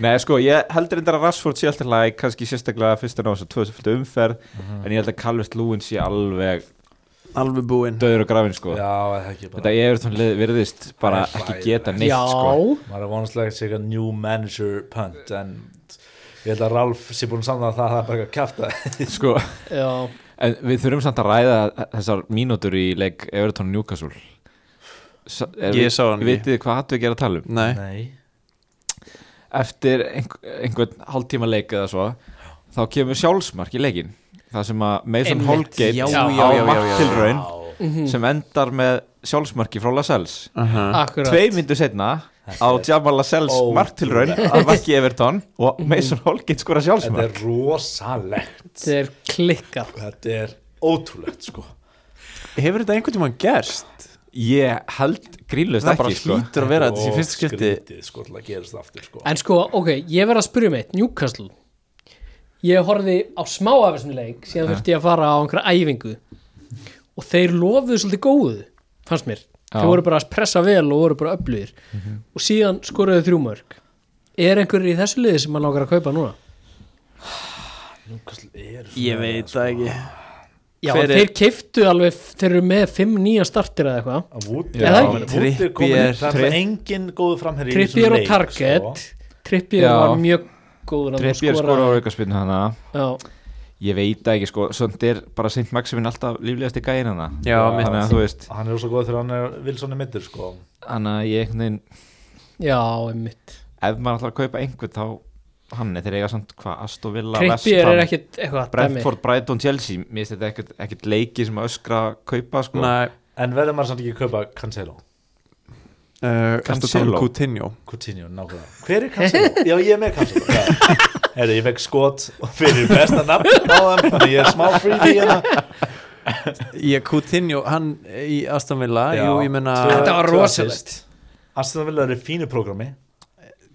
A: Nei, sko, ég held reyndar að Rashford sé alltaf læg kannski sérstaklega fyrst að ná þess að 2000 umferð
B: Mhm.
A: en ég held að Calvert Lúin sé alveg
C: Alveg búinn
A: döður og grafin, sko
B: Já, eða ekki
A: Þetta
B: bara
A: er svona virðist bara
B: Það er
A: ekki
B: hlægilegt.
A: geta neitt,
D: já,
A: sko
B: maður er vonastlega að segja new manager punt en ég held að Ralf sé búin að samna það að það er bara að kæfta
A: Sko,
D: já
A: en við þurfum samt að ræða þessar mínútur í leik Everton Newcastle Sa, er,
C: Ég sá hann ekki.
A: Vitið þið hvað hattu ekki er að tala um?
C: Nei,
B: Nei,
A: Eftir einhver, einhvern hálftíma leik eða svo þá kemur sjálfsmark í leikin það sem að Mason
D: Einmitt,
A: Holgate
C: já,
D: já,
A: á
C: já, já,
A: marktilraun
D: mm
A: sem endar með sjálfsmarki frá Lascelles
C: aha
D: akkurat
A: Tvei myndu setna á Jamal Lascelles
B: Ótrúlegt.
A: marktilraun að marki Everton og Mason Holgate skora
B: þetta
A: sjálfsmark
B: er rosalegt
D: þetta er klikkað
B: þetta er ótrúlegt sko
C: Hefur þetta einhvern tímann gerst?
A: Ég held grínlust
C: Það bara
A: ekki sko.
C: hlýtur að vera þetta í fyrsta
B: Og
C: skipti
B: skrítið, sko til að gerast aftur sko
D: En sko, ok, ég verð að spyrja um eitt, Newcastle Ég horfði á smá af þessum leik síðan þurfti ég að fara á einhverja æfingu og þeir lofuðu svolítið góðu fannst mér,
A: Já.
D: þeir voru bara að pressa vel og voru bara öflugir og síðan skoruðu þrjú mörg Er einhverjir í þessu liði sem mann ákar að kaupa núna?
B: Newcastle eru svona-
C: Ég veit það ekki
D: Já,
C: Hver er-
D: þeir keiftu alveg, þeir eru með fimm nýja startir eða eitthvað
B: Að Wood-
A: Já,
B: Já,
D: það
B: Wood er
C: ekki?
B: komin-
C: Trippier-
B: Það er
A: Tripp-
B: engin góðu framherri í
D: Trippier
B: þessum
D: og
B: leik,
D: Target
B: sko.
D: Trippier
A: Já.
D: var mjög góður hann
A: Trippier skora á aukarspinnu hana
D: Já,
A: Ég veit það ekki sko, svont er bara Sint Maximin alltaf líflegast í gæin hana
C: Já, mitt.
A: Þannig að þú veist,
B: Hann er svo góð þegar hann er Wilson er mittur sko
A: hann að ég einhvern veginn
D: já, einmitt
A: Ef maður ætlar að kaupa einhvern þá Hann er þeir eiga samt hvað, Aston Villa,
D: Trippier er ekkit eitthvað dæmi.
A: Brentford, Brighton, Chelsea Mér finnst þetta ekkert, ekkert leiki sem að öskra að kaupa sko
C: Nei,
B: En verður maður samt ekki að kaupa Cancelo
C: uh, ertu að tala um
A: Cancelo.
C: Coutinho
B: Coutinho, nákvæmlega Hver er Cancelo? Já, ég er með Cancelo Herri, ég fekk skot fyrir besta nafn á þeim Þannig að ég er smá freebie hérna
C: Ég Coutinho, hann í Aston Villa
B: Já,
C: Jú, ég menna
B: tvö-
D: Þetta var
B: tvö
D: rosalegt.
B: assist. Aston Villa er í fínu prógrami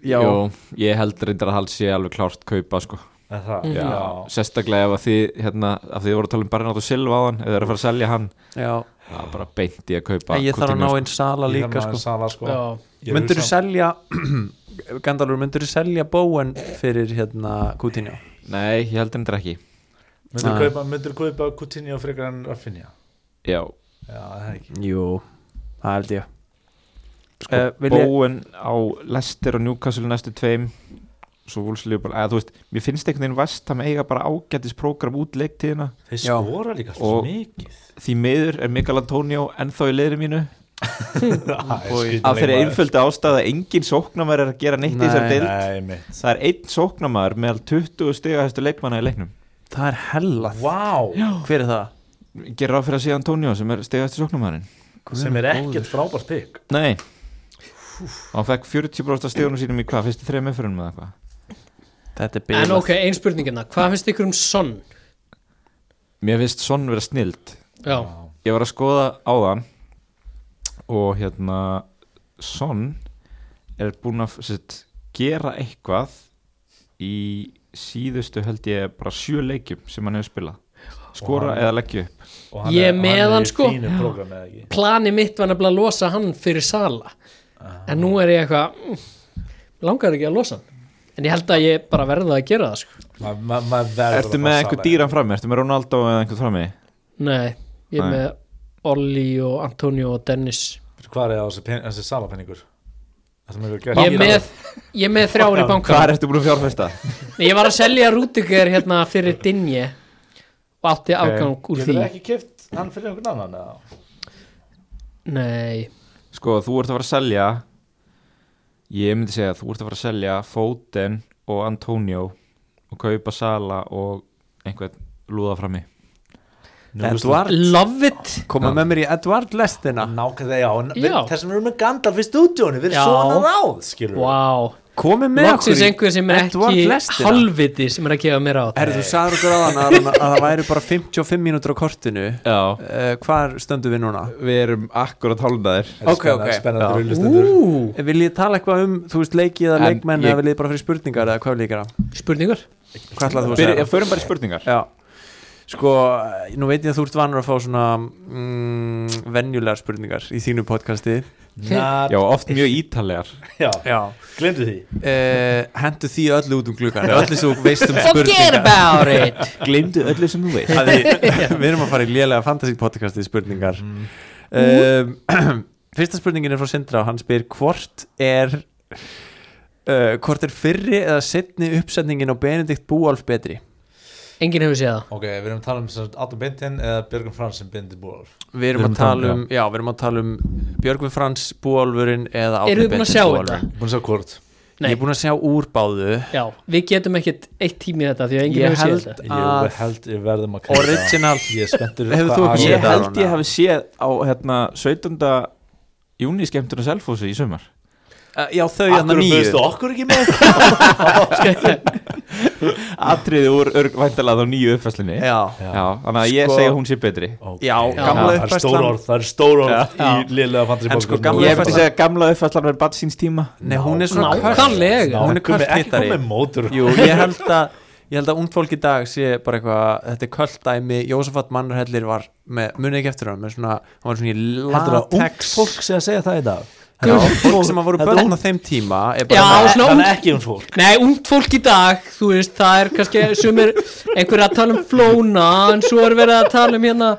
C: Já,
A: Jú, ég held reyndar að hals sé alveg klárt kaupa sko
B: En það,
D: Mhm.
B: já
A: Sérstaklega ef að þið, hérna, af því þið voru að tala um Bernardo Silva á hann Eða eru að fara að selja hann
C: já
A: Það er bara beint í að kaupa
C: En ég þarf að ná
A: Coutinho,
C: einn sala
B: Ég
C: líka
B: þarf
C: sko
B: maður Sala sko
D: Já.
B: Ég er
C: Myndur þú
B: hugsa-
C: selja Gandalfur, myndur þú selja Bowen fyrir hérna Coutinho
A: sko. Nei, ég held reyndar ekki Ah.
B: myndirðu
C: Nei.
B: kaupa- Myndirðu kaupa Coutinho frekar en Rafinha
A: Já,
B: Já, það er ekki
C: Jú, það held ég
A: sko,
C: Eh, vil ég-
A: Bóen á Leicester og Newcastle næstu tveim svo vúlslíu bara, eða þú veist, mér finnst einhvern veginn vest að eiga bara ágætis prógram út leiktíðina
B: Þeir
C: Já.
B: skora líka alltaf
A: Og-
B: svo mikið
A: því miður er Mikael Antonio ennþá í leiðri mínu
B: Það er
A: að
B: skrýtileg
A: fyrir
B: maður.
A: einföldu ástæða engin sóknarmaður er að gera neitt í þessar
C: Nei.
A: deild
B: Nei, mitt
A: það er einn sóknarmaður meðal 20 stigahæstu leikmanna í leiknum
C: það er hella
B: Vá,
C: hver er það?
A: gerir ráð fyrir að sé Antonio sem er stigahæstu sóknarmaðurinn
B: sem er ekkert frábært pikk
A: nei hann fekk 40% af stigunum sínum í hvað, fyrstu þrejum meðfyrum eða hvað
C: þetta er
D: En
C: bilað
D: ok, ein spurningina, hvað finnst ykkur um Son?
A: mér finnst svona vera snild
D: Já,
A: ég var að skoða á þann og hérna Son er búinn að sitt, gera eitthvað í síðustu held ég bara sjö leikjum sem hann hefur spilað skora
B: Og hann-
A: eða leggja upp
B: Og hann
D: Ég
B: er-
D: er með hann, sko.
B: Hann er í fínu program eða ekki
D: plani mitt var nefnilega að losa hann fyrir Sala En nú er ég eitthvað, mm, langar ekki að losa hann En ég held að ég bara verða að gera það sko
B: Ma- ma- maður verður
A: Ertu
B: að
A: með
B: fá
A: einhver
B: Salah.
A: dýran frammi, ertu með Ronaldo eða einhver frammi
D: Nei, ég er
A: Nei.
D: með Olli og Antonio og Dennis
B: Hvað er það á þessi pen- þessi salapenningur? Ertu með eitthvað
D: Ég er
B: gæðir á-
D: með, ég er með þrjári í banka
A: Hvað ertu búin að fjárfesta?
D: Nei, ég var að selja Rúdiger hérna fyrir Dinje og átti afgang úr
B: Getur
D: því
B: ekki keft hann fyrir einhvern annan eða?
D: Nei,
A: Sko, þú ert að fara að selja Ég myndi segja að þú ert að fara að selja Foden og Antonio og kaupa Sala og einhvern lúða frammi
C: Edward,
D: love it
C: koma með mér í Edward lestina
B: Nákvæmlega, já, en við-
D: Já.
B: þess að við erum með Gandalf í stúdíónu, við
D: Já.
B: erum svona ráð, skilur við
D: Vá,
C: komið með
D: loksins
C: í
D: einhver sem er
C: Edward
D: ekki
C: lestina
D: halvviti sem er að gefa mér á það
C: Herðu, þú sagður okkur á að, að það væri bara 55 mínútur á kortinu
A: Já,
C: uh, Hvar stöndum við núna?
A: við erum akkurat hálfnaðir
B: Þetta er
C: Ok,
B: spennan-
C: ok.
B: Spennandi
A: Já.
B: rullustundur
C: Vil ég Eh, tala eitthvað um, þú veist, leikið eða
A: En
C: leikmenn
A: ég-
C: eða vil ég bara fyrir spurningar eða hvað vil ég gera?
D: Spurningar?
C: Hvað ætlaði þú að
A: Byrja,
C: segja?
A: förum bara í spurningar
C: Já, sko, nú veit ég að þú ert vanur að fá svona mm, venjulegar spurningar í þínu podcasti
B: Na-
A: Já, oft mjög ítallegar
B: Já,
C: Já
B: glemdu því
C: Eh, Hentu því öllu út um gluggan öllu svo veist um spurningar
D: about it
A: Gleimdu öllu sem þú veist
C: Að því, Við erum að fara í lélega fantasy podcasti spurningar um, Fyrsta spurningin er frá Sindra og hann spyr hvort er uh, hvort er fyrri eða setni uppsetningin á Benedikt Búalf betri?
D: Enginn hefur séð það
B: Ok, við erum að tala um sem sagt Adam Bintin eða Björgum Frans sem Bintin búar
C: Við erum, að tala um, já, við erum að tala um Björgvin Frans Búalfurinn eða Árni
D: Eruð þið búin að
C: Benedikt
D: sjá
C: Búálfurinn.
B: Búin að sjá hvort
D: Nei,
C: Ég er búin að sjá úr báðu
D: já, við getum ekkit eitt tími í þetta því að enginn
C: Ég
D: hefur séð
C: held-
D: þetta
B: Ég
C: Að-
B: held við verðum að kalla
C: Original
B: Ég er spenntur
C: Hefur þú ekki
A: Ég
C: séð það?
A: held ég hafi séð á hérna, 17. júni skemmtuna selfhósi í sömur
C: Uh, Já þau hann að
B: Akkur
C: nýju
B: bauðstu okkur ekki með
A: Atriði úr örgvæntalað á nýju uppfæslinni Já,
C: Já,
A: þannig að ég
C: Sko-
A: segja að hún sé betri
C: já,
B: Það
C: gamla
B: er stór
C: uppfærslan
B: orð, það er stór orð
A: Já.
B: í liðlega fantasy
C: En sko,
B: bókum.
C: gamla
A: Ég
C: uppfærslan-
A: myndi segja að gamla uppfæslan verður bat síns tíma
C: Nei, hún er svona
D: Nákvæmlega.
C: kört
D: Nákvæmlega.
C: Hún er
B: Ekki komið-
C: kört
B: Ekki
C: hittari
B: komið mótur
C: Jú, ég held að ég held að ungd fólk í dag sé bara eitthvað þetta er kvöld dæmi, Jósafat Mannarhellir var með, munið ekki eftir hann, með svona hann var svona
B: Heldur
C: í
B: að ungt
C: latex
B: fólk sé að segja það í dag
C: Já, fólk sem að voru
B: Þetta
C: börn á þeim tíma er
D: Já,
C: bara
D: svona
B: Þannig
D: ungt-
B: ekki ungt fólk
D: Nei, ungt fólk í dag, þú veist, það er kannski sumir einhver að tala um flóna en svo er verið að tala um hérna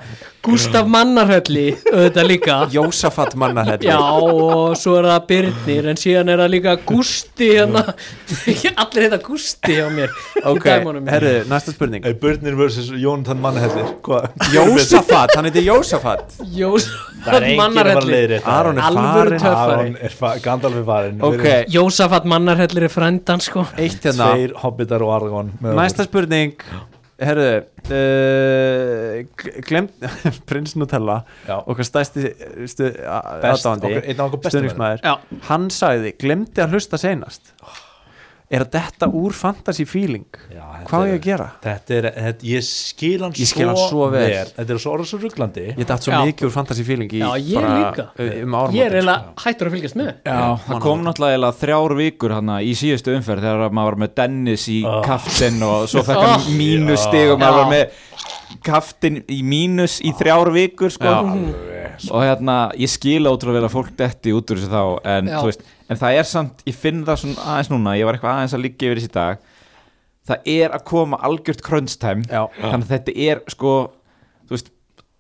D: Gustaf Mannarhölli, auðvitað líka
C: Jósafat Mannarhellir
D: Já, og svo er það Byrnir en síðan er það líka Gusti hérna, allir heita Gusti á mér í
C: ok,
D: dæmunum
C: herru, næsta spurning
B: Hey, Börnir versus Jónatan Mannahellir Hvað?
C: Jósafat, hann heitir Jósafat
D: Jós,
B: Það er enginn að fara leiðir þetta
C: Aron er
D: Alvöru
C: farin
D: töff.
B: Aron er fa- Gandalf er farin
C: ok,
D: Jósafat Mannarhellir er frændan sko
C: eitt hérna
B: Tveir hobbitar og Aragorn með okkur.
C: næsta spurning herru uh, glemt, prins Nutella
B: Já.
C: okkar stæsti stu, a-
B: Best-
C: aðdáandi,
B: okkar- einn af okkar bestu
C: stuðningsmaður
D: Já.
C: hann sagði, glemdi að hlusta senast er að detta úr fantasy feeling
B: Já, þetta
C: hvað á ég
B: er-
C: að gera?
B: Þetta er, þetta, ég skil hann
C: Ég skil hann svo vel.
B: Þetta er svo orða svo rugglandi
C: ég datt svo
D: Já.
C: mikið úr fantasy feeling í
D: Já, ég
C: bara, um árum
D: Ég er eiginlega hættur að fylgjast með
A: Já, það kom náttúrulega eiginlega þrjár vikur hana, í síðustu umferð þegar að maður var með Dennis í oh. kaftin og svo fekk hann
D: Oh.
A: mínus stig og maður
D: Já.
A: var með kaftin í mínus í þrjár vikur sko. og hérna, ég skila ótrúlega vel að fólk detti út úr þessu þá en,
D: Já.
A: þú veist, en það er samt, ég finn það svona aðeins núna ég var eitthvað aðeins að liggja yfir þessi í dag það er að koma algjört crunch time
C: Já.
A: þannig að þetta er sko þú veist,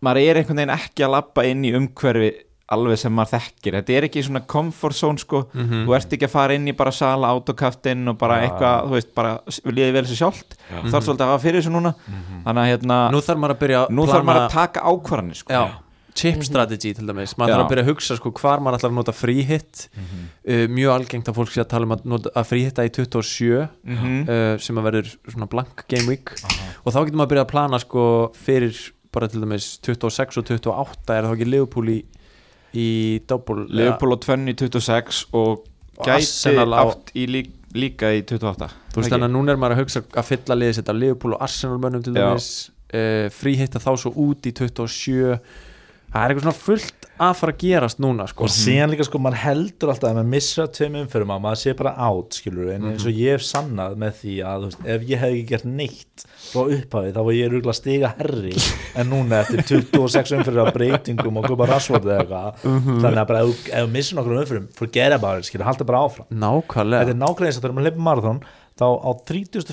A: maður er einhvern veginn ekki að lappa inn í umhverfi alveg sem maður þekkir þetta er ekki svona comfort zone sko þú ert ekki að fara inn í bara sala autokaftinn og bara
C: Mhm. Já. Mhm.
A: eitthvað, þú veist, bara s- líði vel sér sjálft, þú þarf svolítið að hafa fyrir þessu núna þannig að hérna,
C: nú þarf maður að byrja að
A: nú þarf maður að taka ákvarðanir sko.
C: já, chip strategy til dæmis maður
A: Já.
C: þarf
A: Mhm.
C: að byrja að hugsa sko hvar maður ætlar að nota fríhitt uh, mjög algengt að fólk sé að tala um að, nota, að fríhitta í 27
A: Mhm.
C: uh, sem að verður svona blank game week og þá getur maður að byrja að plana sko fyrir bara til dæmis 26 og 28 er þá ekki Liverpool í, í double
A: Liverpool og Tvenni 26 og
C: Og
A: gæti
C: Arsenal á-
A: átt í lík, líka í 28
C: eða, þú veist
A: Ekki?
C: þannig að núna er maður að hugsa að fylla liðið sitt af Liverpool og Arsenal mönnum til
A: Já.
C: dæmis uh, fríhitta þá svo út í 27 það er eitthvað svona fullt að fara að gerast núna sko
B: og síðan líka sko maður heldur alltaf að maður missa tveim umfyrum að maður sé bara átt skilur en eins og
C: Mhm.
B: ég hef sannað með því að þú veist, ef ég hef ekki gert neitt frá upphafi þá var ég rúgla stiga herri en núna eftir 26 umfyrir af breytingum og koma rasvort eða eitthvað
C: Mhm.
B: þannig að bara ef, ef við missum okkur umfyrum forget about it skilur, halda bara áfram þetta
C: nákvæmlega
B: er nákvæmlega eins og þegar maður leipur marathon þá á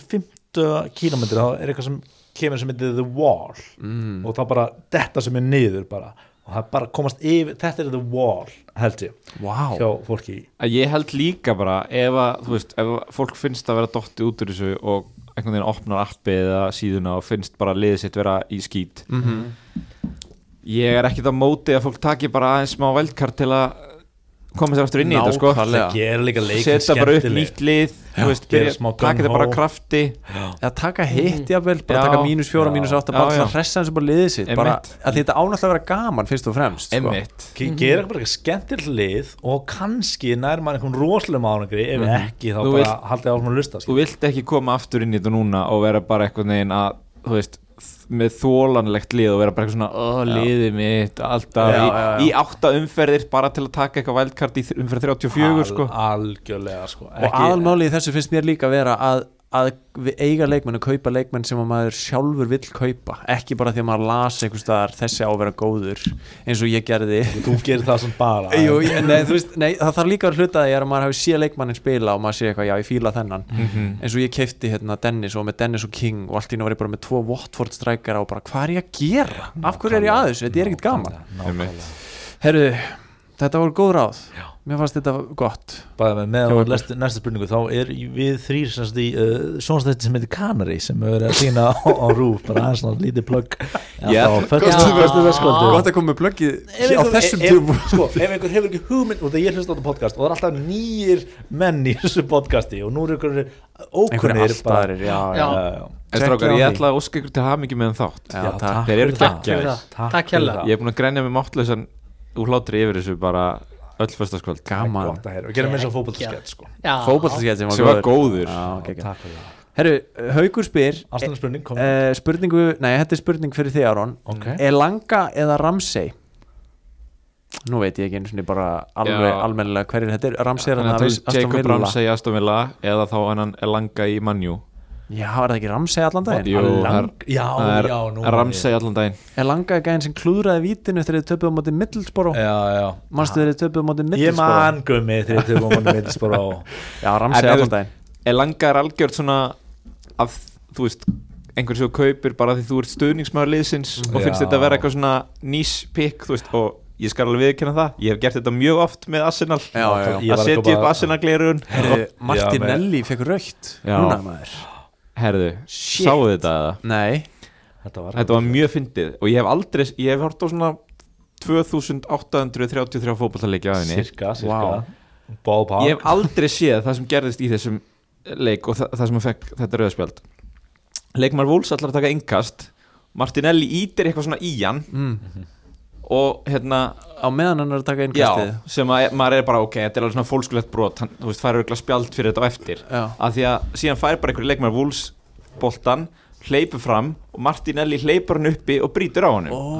B: 35 kílometri þá er eitthvað sem kemur sem heitir The Wall
C: Mm.
B: og þá bara þetta sem er niður bara og það er bara að komast yfir, þetta er The Wall held ég,
C: wow.
B: hjá fólki í
A: að ég held líka bara ef að, þú veist, ef að fólk finnst að vera dottið út úr þessu og einhvern veginn opnar appi eða síðuna og finnst bara liðið sitt vera í skít ég er ekkit á móti að fólk taki bara aðeins smá veldkart til að koma sér aftur inn í þetta sko
C: Nákvæmlega. Já.
B: gera líka leikin
A: setja bara upp
B: skemmtileg
A: nýtt lið þú veist,
B: gera
A: byrja,
B: smá Sko.
A: taka þetta bara
B: gung-ho.
A: af krafti
C: að taka hitt jafnvel,
A: Mm.
C: bara
A: Já.
C: taka mínus fjóra, mínus átta bara
A: Já,
C: til
A: já.
C: að hressa hans bara liðið sitt bara,
A: Einmitt.
C: að þetta ánáttúrulega að vera gaman fyrst og fremst sko.
A: einmitt
B: Ge- gera bara eitthvað skemmtileg lið og kannski nær maður einhvern rosalum ánangri ef
C: Mhm.
B: ekki þá
A: Þú
B: bara
A: vilt-
B: haldið áfram að sko. lusta
A: þú vilt ekki koma aftur inn í þetta núna og vera bara eitthvað neginn að þú veist, þ- með þólanlegt lið og vera bara eitthvað svona "Ó, liðið mitt, alltaf
C: Já,
A: í,
C: já, já.
A: í átta umferðir bara til að taka eitthvað vældkart í þ- umferð 34 sko
B: algjörlega sko
C: og aðalmálið í þessu finnst mér líka að vera að, að við eiga leikmenn og kaupa leikmenn sem að maður sjálfur vill kaupa ekki bara því að maður las einhver staðar þessi á að vera góður eins og ég gerði
B: þú gerir það sem bara
C: Jú, ég, nei, þú veist, nei, það þarf líka að hluta að ég er að maður hafi séð leikmannin spila og maður sé eitthvað, já, ég fíla þennan eins og ég keipti hérna Dennis og með Dennis og King og allt í nú var ég bara með tvo Watford strækara og bara, hvað er ég að gera? Af hverju er ég aðeins? Þetta er ekkert gaman
A: Einmitt.
C: Herru, þetta voru góð ráð Mér fannst þetta gott
B: Bæði með með og næsta, næsta spurningu þá er í- við þrýr semst í uh, sjónstætti sem heitir Canary sem við verið að sína á, á rúf bara aðeins nátt lítið plögg
A: Já,
C: Gott að koma með blöggið á þessum tíma
B: sko, ef einhver hefur ekki hugmynd og það ég hlust á þetta podcast og það er alltaf nýjir menn í þessu podcasti og nú eru einhverjir
C: Einhverju
B: ókunnir bara-
C: allstarir, já, já,
D: Já.
B: Já, já, já.
A: En strákar, ég ætla að óska ykkur til hamingi með þátt
C: já,
B: Já,
C: takk.
A: Þeir eru
B: fyrir það.
A: geggjaðir.
D: Takk fyrir það. Takk
B: fyrir
D: hérlega.
B: það.
A: Ég er búin að grænja mig máttlausan úr hlátri yfir þessu bara öll föstaskvöld
C: Gaman
B: Gott að heyra. og gerum eins og fótballskett sko.
C: Fótballskett sem var
A: Sem var góður.
C: Já, geggjað.
B: Takk fyrir það.
C: Herru, Haukur spyr
B: Ástæðan spurning
A: Eh,
B: kom
C: Uh, spurningu, nei, þetta er spurning fyrir þig Aron
B: Ok.
C: Elanga eða Ramsey Nú veit ég ekki einu sinni bara alveg
A: Já.
C: almennilega hverjir þetta er Ramsey er hann
A: Þannig að
C: að
A: þú- Jacob Ramsey Aston Villa eða þá hennan Elanga í Manjú
C: Já, er það ekki Ramsey allan daginn?
A: Jú,
B: Lang-
A: það
B: Já,
A: er
B: já, nú
A: Ramsey allan daginn
C: Elanga er gæðin sem klúðraði vítinu þegar þið töpuðu á móti Middlesboro
B: Já, já
C: Manstu þegar þið töpuðu á móti
B: Eh, Ég
C: Middlesboro
B: man gummi þegar þið komum að mittlisbara á
C: Já, Ramsey
A: En ef
C: allan
A: þú-
C: daginn
A: er langar algjörð svona að þú veist einhvern sem þú kaupir bara því þú ert stuðningsmæður liðsins og finnst
B: Já.
A: þetta að vera eitthvað svona nýs pikk þú veist og ég skal alveg viðkynna það ég hef gert þetta mjög oft með Arsenal
C: Já, já, já.
B: Ég
A: að
B: var að
A: setja
B: kaupa-
A: upp Arsenal glerun
C: Herru,
B: Já, með-
C: Martinelli fekk raukt
A: Já.
C: Núna maður
A: herðu,
C: Shit.
A: sáu þetta eða?
C: Nei,
B: Þetta var
A: þetta var mjög fyndið og ég hef aldrei ég hef hort á svona 2833 fótballleiki á henni
B: Sirka, sirka
C: Vá.
B: Ball Park
A: ég hef aldrei séð það sem gerðist í þessum leik og þa það sem hann fekk þetta rauðspjald leikmar Wolves allar að taka innkast Martinelli ítir eitthvað svona í hann og hérna
C: á meðan hann er að taka innkastið
A: já, sem að maður er bara ok, þetta er alveg svona fólkskulegt brot hann, þú veist, fær auðvitað spjald fyrir þetta á eftir
C: Já.
A: að því að síðan fær bara einhver leikmar Wolves boltan, hleypur fram og Martinelli hleypur hann uppi og brýtur á honum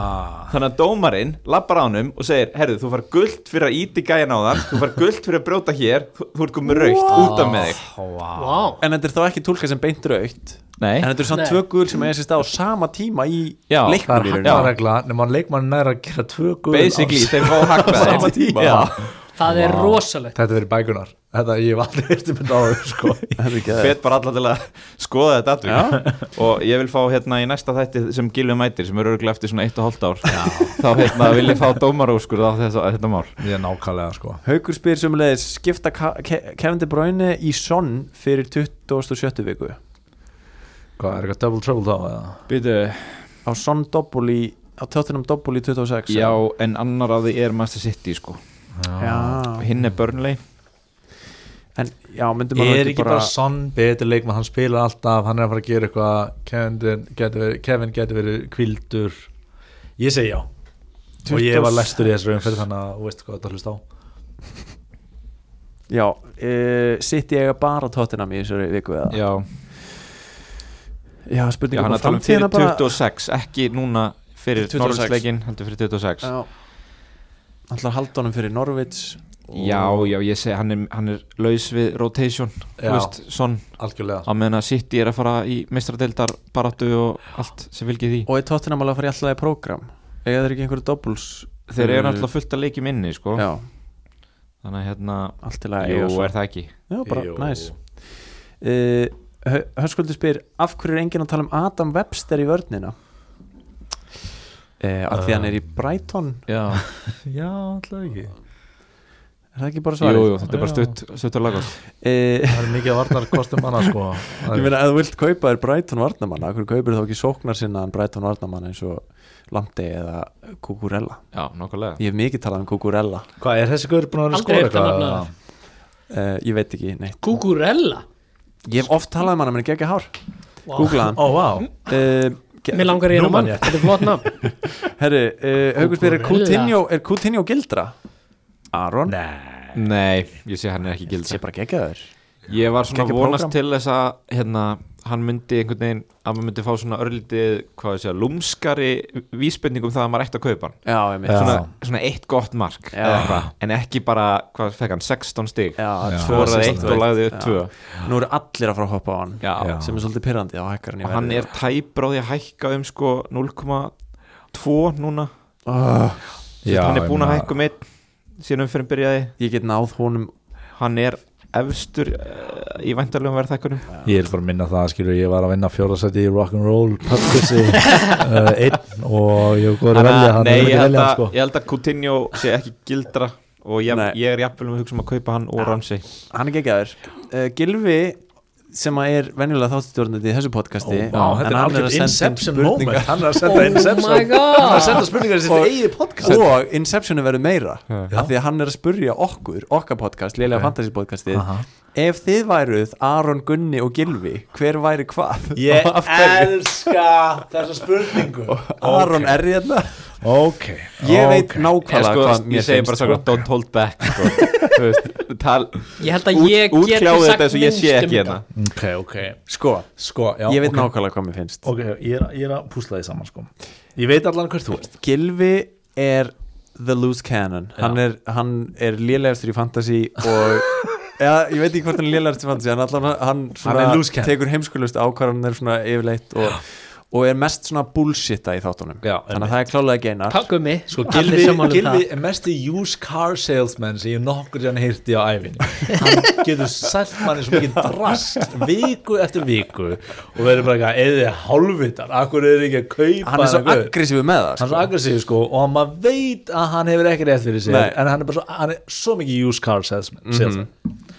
A: Ah. Þannig að dómarinn lappar á honum og segir Herðu, þú far gullt fyrir að íti gæjan á þann Þú far gullt fyrir að brjóta hér Þú, þú ert komið raukt út af með þig
B: Vá
D: Vá,
C: En þetta er þá ekki tólka sem beint raukt En
A: Nei,
C: þetta er samt
D: Nei.
C: tvö gul sem eiga sér stað á sama tíma í
A: Já,
C: leiknum
B: Það
C: í
B: er
C: rauninni.
B: regla Nefnum að leikmann næra að gera tvö guð
A: basically þeir fá
B: Á
A: hakkaði
B: sama tíma.
A: Já.
D: það er
C: Vá.
D: rosalegt
B: Þetta verið bækunar Þetta ég hef aldrei hérst um þetta áður sko.
C: Þetta er geðveikt.
A: Fett bara alla til að skoða þetta allir Og ég vil fá hérna í næsta þætti sem Gilvi mætir sem eru örgulega eftir svona 1,5 ár Þá hérna vil ég fá dómarúskur á þess, þetta mál
B: Ég er nákvæmlega sko
C: Haukur spyr sömulegis skipta Ka- Ke- Kevin De Bruyne í sonn fyrir 27. viku
B: Hvað er eitthvað double trouble þá eða?
A: Býtu,
C: á sonn doppul í á tóttunum doppul í 26
A: já en annar af því er Master City sko
C: já.
A: Hinn er Burnley
C: en já, myndum
B: Er ekki bara, Son betur leikmann, hann spilar alltaf, hann er að fara að gera eitthvað, Kevin getur verið, Kevin getur verið kvildur, ég segi já, og ég var lestur í þessu umferð þannig að þú veist hvað þetta hlust á.
C: já, uh, sitt ég bara tóttunum í þessari viku eða
A: Já,
C: já
A: já
C: spurninga
A: hann er að tala um fyrir 26 Ekki núna fyrir
C: 26.
A: Norrlandsleikin Heldur fyrir 26
C: já alltaf haldunum fyrir Norvits
A: Já, já, ég segi hann er, hann er laus við rotation Þú
B: Já.
A: veist, svon
B: Algjörlega.
A: á meðan að City er að fara í meistradildar barattu og allt sem fylgir því
C: og er tóttunum alveg að fara í alltaf í program eða er ekki einhverju doppels
A: þeir eru
C: Mm.
A: náttúrulega fullt að leikjum inni sko.
C: já,
A: þannig að hérna,
C: allt til að
A: jú,
C: eiga svo.
A: er það ekki
C: já, bara
B: Jú.
C: næs uh, Hörskuldur spyr af hverju er enginn að tala um Adam Webster í vörnina uh, af því hann
A: Um.
C: er í Brighton
A: já,
B: Já, alltaf ekki.
C: er það ekki bara
A: jú,
C: svarið?
A: jú, þetta er bara
B: Já.
A: stutt stutt að laga
C: Uh,
B: Það er mikið að varnar kostum manna sko. Það
C: ég
B: er-
C: meina ef þú vilt kaupa þér Brighton varnamann af hverju kaupir þú ekki sóknar sinna en Brighton varnamann eins og Lamptey eða Kukurella
A: já, nokkulega
C: ég hef mikið talað um Kukurella
B: Hvað, er þessi guður búin að vera að
D: Aldrei
B: skora
D: heyrt hann
B: eitthvað?
D: nafna
B: eða?
C: uh, ég veit ekki, nei
D: Kukurella
C: ég hef oft talað um hann, menn ekki ekki hár
D: Vá.
C: Google hann
B: Ó, vá.
C: uh,
D: Mér langar ég
B: Nú
D: einu mann,
B: man ég.
D: þetta er flott nafn
C: herri, uh, Haugur spyr er
D: Cucurella.
C: Coutinho, er Coutinho gildra? Aron?
B: Nei.
A: nei, ég sé hann er ekki gild
C: sé bara geggaður
A: ég var svona
C: Gekkja
A: vonast
C: prógram.
A: til þess að hérna, hann myndi einhvern veginn að maður myndi fá svona örlítið hvað ég segja, lúmskari vísbendingum það að maður ætti að kaupa hann
C: já, ég mitt
B: Já.
A: svona, svona eitt gott mark
C: Já.
A: eða eitthvað, en ekki bara, hvað fekk hann, 16 stig
B: Já.
C: Já, tvö
A: skoraði
C: assist
A: eitt
C: og
A: og
C: eitt.
A: lagði upp
C: Já.
A: tvö
C: Nú eru allir að fara að hoppa á hann
A: já,
C: sem er svolítið pirrandi á hækkarinn
A: og hann er tæpur á því að hækka um sko 0,2 núna
C: oh,
A: Já, hann er
B: ég
A: búin að
B: meina-
A: hækka um einn síðan umferðin byrjaði
C: Ég get náð honum
A: hann er efstur uh, í væntalegum verðhækkunum
B: Ég er bara að minna það, skilur, ég var að vinna fjórðarsæti í rock'n'roll pubquissi uh, einn og ég var að velja hann,
A: nei,
B: ég
A: ég
B: var ekki að
A: held, að,
B: velja hann sko.
A: ég held að Coutinho sé ekki gildra og ég,
C: Nei.
A: ég er jafnvel með hugsa um að kaupa hann og Ramsey
C: Hann er geggaður uh, Gilvi sem að er venjulega þáttstjórnandi í þessu podcasti
B: Vá, þetta
C: en
B: er
C: hann
B: algjör
C: að senda inn
B: Inception
C: spurningar.
B: moment Hann er að senda Inception
D: Oh my god.
B: Hann er að senda spurningar í sitt
C: Og-
B: eigið podcast
C: Og Inceptionu verður meira
A: Já.
C: af því að hann er að spurja okkur okkar podcast, Lélega okay. Fantasy podcastið
B: Aha.
C: Ef þið væruð Aron Gunni og Gilvi hver væri hvað? Og af hverju?
B: elska þessa spurningu
C: Aron er hérna
B: Ok
C: Ég veit
A: ég,
C: nákvæmlega
A: sko,
C: hvað mér
A: ég segi bara
C: finnst
A: svona don't hold back sko. Þú veist, tal,
D: Ég held að
A: út,
D: ég get
A: útkláðu
D: sagt
A: þetta eins og ég sé
D: minnst um
A: ekki hérna
D: þetta.
B: Ok, ok
C: Sko,
B: Sko, já
C: ég veit
B: ok.
C: nákvæmlega hvað mér finnst
B: Ok, ég er, ég er að púsla því saman sko Ég veit allan hver þú ert
C: Gilvi er the loose cannon hann er, hann er lélegastur í fantasy og ja, ég veit ekki hvort hann er lélegastur í fantasy hann, allan, hann,
B: Hann
C: svona,
B: er loose cannon.
C: tekur heimskulust ákvarðanir svona yfirleitt og, og er mest svona bullshitta í þáttunum
B: Já,
C: þannig að það er klálega geinar
D: Pagummi,
B: Sko,
D: allir
B: Gilvi,
D: sammála um
B: Gilvi er mesti used car salesman sem ég nokkur hann heyrti á æfinni Hann getur sælt manni svo mikið drast viku eftir viku og verður bara eitthvað, eða þið hálfvitar Akkur er ekki að kaupa
C: hann er svo
B: þennan gaur?"
C: aggressífu með það
B: hann er aggressív sko og maður veit að hann hefur ekki rétt fyrir sig
C: Nei. Mhm.
B: en hann er bara svo, hann er svo mikið used car salesman, salesman.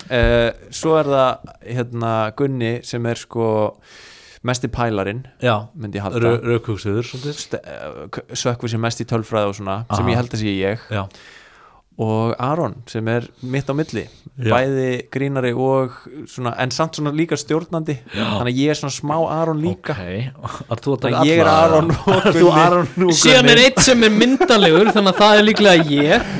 C: uh, svo er það hérna, Gunni sem er sko mesti pælarinn
B: já,
C: myndi ég halda
B: raukugsuður svolítið
C: Ste- eh, k- sökkvi sem mest í tölfræði og svona sem
B: Aha.
C: ég held að sé ég
B: já,
C: og Aron sem er mitt á milli
B: Já.
C: bæði grínari og svona, en samt svona líka stjórnandi þannig að ég er svona smá Aron líka
B: að þú að taka
C: Þannig að ég er
B: alla-
C: Aron og
B: Að þú
C: Gunni.
B: Aron og
D: Síðan er
B: Gunni.
D: eitt sem er myndalegur þannig að það er líklega ég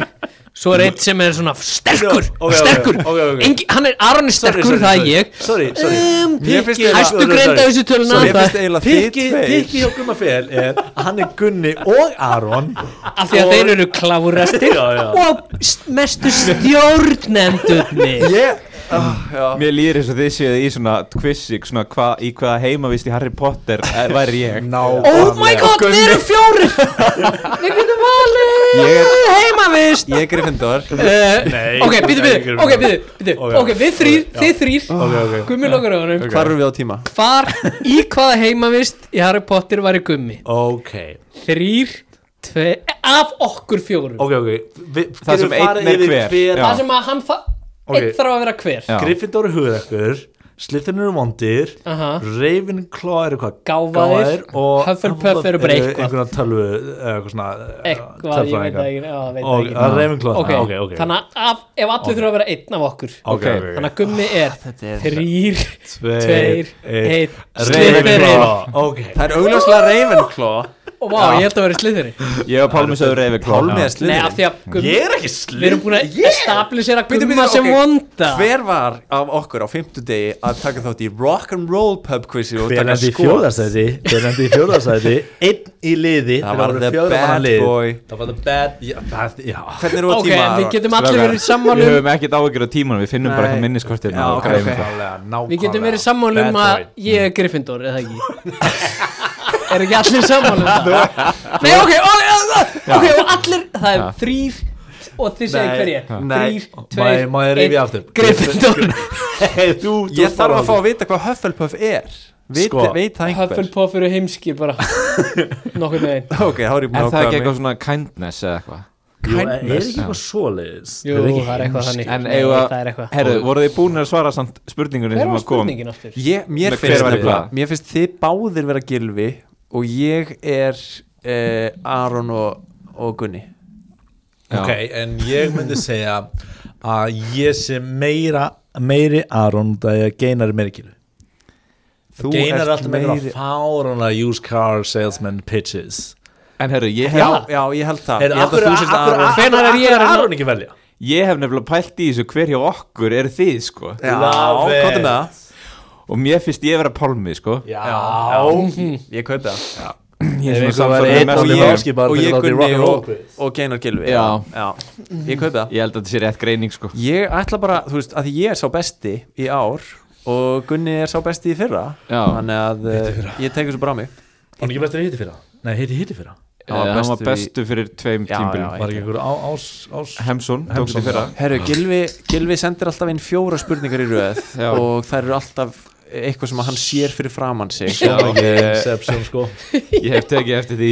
D: Svo er eitt sem er svona sterkur,
B: Ok, ok,
D: sterkur
B: ok, ok.
D: Engi, hann er, Aron er sterkur, það er ég
B: sorry, sorry. Um,
C: Mér finnst eiginlega-
D: Hæstu greind af þessu töluna
C: Sorry, mér
D: það-
C: finnst eiginlega þið
B: Pikki,
C: tveir.
B: pikki hjá Gumma Fel er að hann er Gunni og Aron
D: af því að
B: og-
D: þeir eru klárastir
B: Já, já.
D: og st- mestu stjórnendurnir
C: ég, ah, já,
A: Mér líður eins og þið séu í svona quizzik svona hva, í hvaða heimavist í Harry Potter eh, væri ég
D: Oh my god,
A: Gunni.
D: við erum fjórir Við getum valið
A: Ég er-
D: heimavist
C: ég er Gryffindor
B: Nei,
D: Ok, býtu,
B: ég
D: býtu,
B: er
D: ok,
B: ekki
D: býtu, býtu
B: Ok.
D: Ok, við þrýr,
B: Já.
D: þið þrýr
B: Ok, ok.
D: Gummi lokar auðanum
C: Hvar eru við á tíma?
D: Hvar, í hvaða heimavist í Harry Potter væri Gummi?
B: Ok,
D: Þrýr, tvei, af okkur fjórum
B: ok, ok Vi,
A: Það sem einn er hver. Já.
D: Það sem að hann, þa-
B: Ok.
D: einn þarf að vera hver
A: Já.
B: Gryffindor er hugrekkur Slytherin eru vondir
D: Aha.
B: Ravenclaw eru hvað
D: Uh-huh. Gáfaðir,
B: og
D: Hufflepuff eru bara eitthvað.
B: einhverja tölvu eða eitthvað svona eh,
D: Eitthvað, ég veit
B: tölfræðingar.
D: það ekki, já, veit það
B: og
D: ekki.
B: að Ravenclaw
D: Ok,
B: ok, ok
D: þannig að af- ef allir þurfa að vera einn af okkur
B: Ok, ok, ok.
D: Þannig að gummi er
C: er-
D: þrýr,
B: Tveir,
D: tveir,
B: einn.
D: einn, slithirinn
B: Ravenclaw ok
C: Það er augljóslega Ravenclaw
D: Og vá, ég held að vera slithirinn
A: Ég og Pálmi sögur reyfi klón
C: Pálmi er
D: Nei,
C: Slytherin
D: af því að gummi,
B: ég er ekki
D: við erum búin að
B: slið
D: establisera
C: Bíddu,
D: gumma
C: bíddu,
D: sem
C: ok.
D: vonda
C: Hver var af okkur á fimmtudegi að taka þátt í rock'n'roll pub quizi og
B: Hver
C: taka
B: endi í
C: skot?
B: fjóðarsæti Hver endi í fjóðarsæti Einn í liði
C: Það
B: þeir
C: var
B: voru
C: the
B: fjögurra manna
C: bad
B: lið.
C: boy.
B: Það var the bad Já, það- já.
C: Hvernig eru við á
D: Ok,
C: tíma?
D: en við getum allir
A: Strákar,
D: verið sammála
A: Við
D: um
A: höfum ekkert áhyggjur á tímanum, við finnum bara
C: Nei.
A: eitthvað minniskortir
C: Já, ok, ok.
B: Nákvæmlega,
D: Við getum
B: nákvæmlega.
D: verið sammála um
B: Bad
D: að
B: boy.
D: ég er Gryffindor, eða ekki Er ekki allir sammála um það? Nei, ok, ok, ok, og allir, það er þrýr og þið segir
C: Nei,
D: hverja
C: nei.
D: Þrýr,
B: Má- má ég
D: tveir,
B: rifja aftur?
D: Gryffindor
B: Hey, þú, þú
C: Ég þarf að fá
B: áður.
C: að vita hvað Hufflepuff er Veit,
B: Sko,
C: veit það einhver?
D: Hufflepuff eru heimskir bara Nokkur megin
C: Ok, þá er ég búin
A: Er
C: að
A: það
C: ákvæða
A: ekki
C: mig
A: eitthvað svona kindness eða eitthvað?
B: Jú, Er er
C: Kindness.
B: ekki eitthvað svoleiðis
D: Jú,
B: Er ekki
D: það er eitthvað þannig
A: En
D: Nei,
A: eigum við
D: Það er
A: að,
D: eitthvað
A: herru, voruð þið búin að svara samt spurningunni
D: Hver
A: sem
D: var
A: að kom?
D: spurningin aftur?
C: Ég, mér,
A: Nei, hver
C: finnst
A: var
C: nefnilega-
A: nefnilega?
C: mér finnst þið báðir vera gilvi og ég er eh, Aron og, og Gunni
A: Já.
B: Ok, en ég myndi segja að ég sé meira meiri Aron út af því að geinar er meiri kilu
C: Þú
B: Geinar er
C: ert
B: alltaf meira
C: meiri-
B: fárana used car salesman pitches
A: En herru, ég hef,
C: Já, já, ég held það
B: Heyrðu,
C: Ég held
B: akkur-
C: að þú sért
B: akkur-
C: Aron
B: akkur-
D: Hvenær er ég
B: akkur
D: að-
B: Aron ekki velja?
A: ég hef nefnilega pælt í þessu hver hjá okkur er þið, sko
C: Já,
B: Love it.
C: komdu með það
A: Og mér finnst ég vera Pálmi, sko
B: Já
C: Ég kaup það
A: Ég
B: Ef
A: er
B: einhver
A: svona
B: væri
A: samsvarað
B: einn
A: mest
C: og
B: Pálmi
A: um
B: Valski
C: ég,
B: bara
C: og
B: til
C: ég
B: að láta í
C: Gunni
B: rock and roll
C: og,
B: quiz.
C: og Geinar Gilvi
A: Já.
C: Ég kaup það
A: Ég held að þetta sé rétt greining, sko
C: Ég ætla bara, þú veist, að því ég er sá besti í ár og Gunni er sá besti í fyrra
A: Já.
C: þannig að uh, ég tekur svo bara á mig
B: Var hann ekki bestur í hitti fyrra? Nei, hitti hitti fyrra
A: Eh, Hann var
C: bestur í-
A: bestu fyrir tveim
C: Já, já,
A: tímbilum
B: Var ekki einhver á- ás ás
A: Hemsson, tók
B: Hemson,
A: þetta fyrra
C: Herru,
B: Ah.
C: Gilvi, Gilvi sendir alltaf inn fjóra spurningar í röð
A: Já.
C: og þær eru alltaf eitthvað sem hann sér fyrir framann sig
A: Já,
C: og uh,
B: Inception sko
A: Ég hef tekið eftir því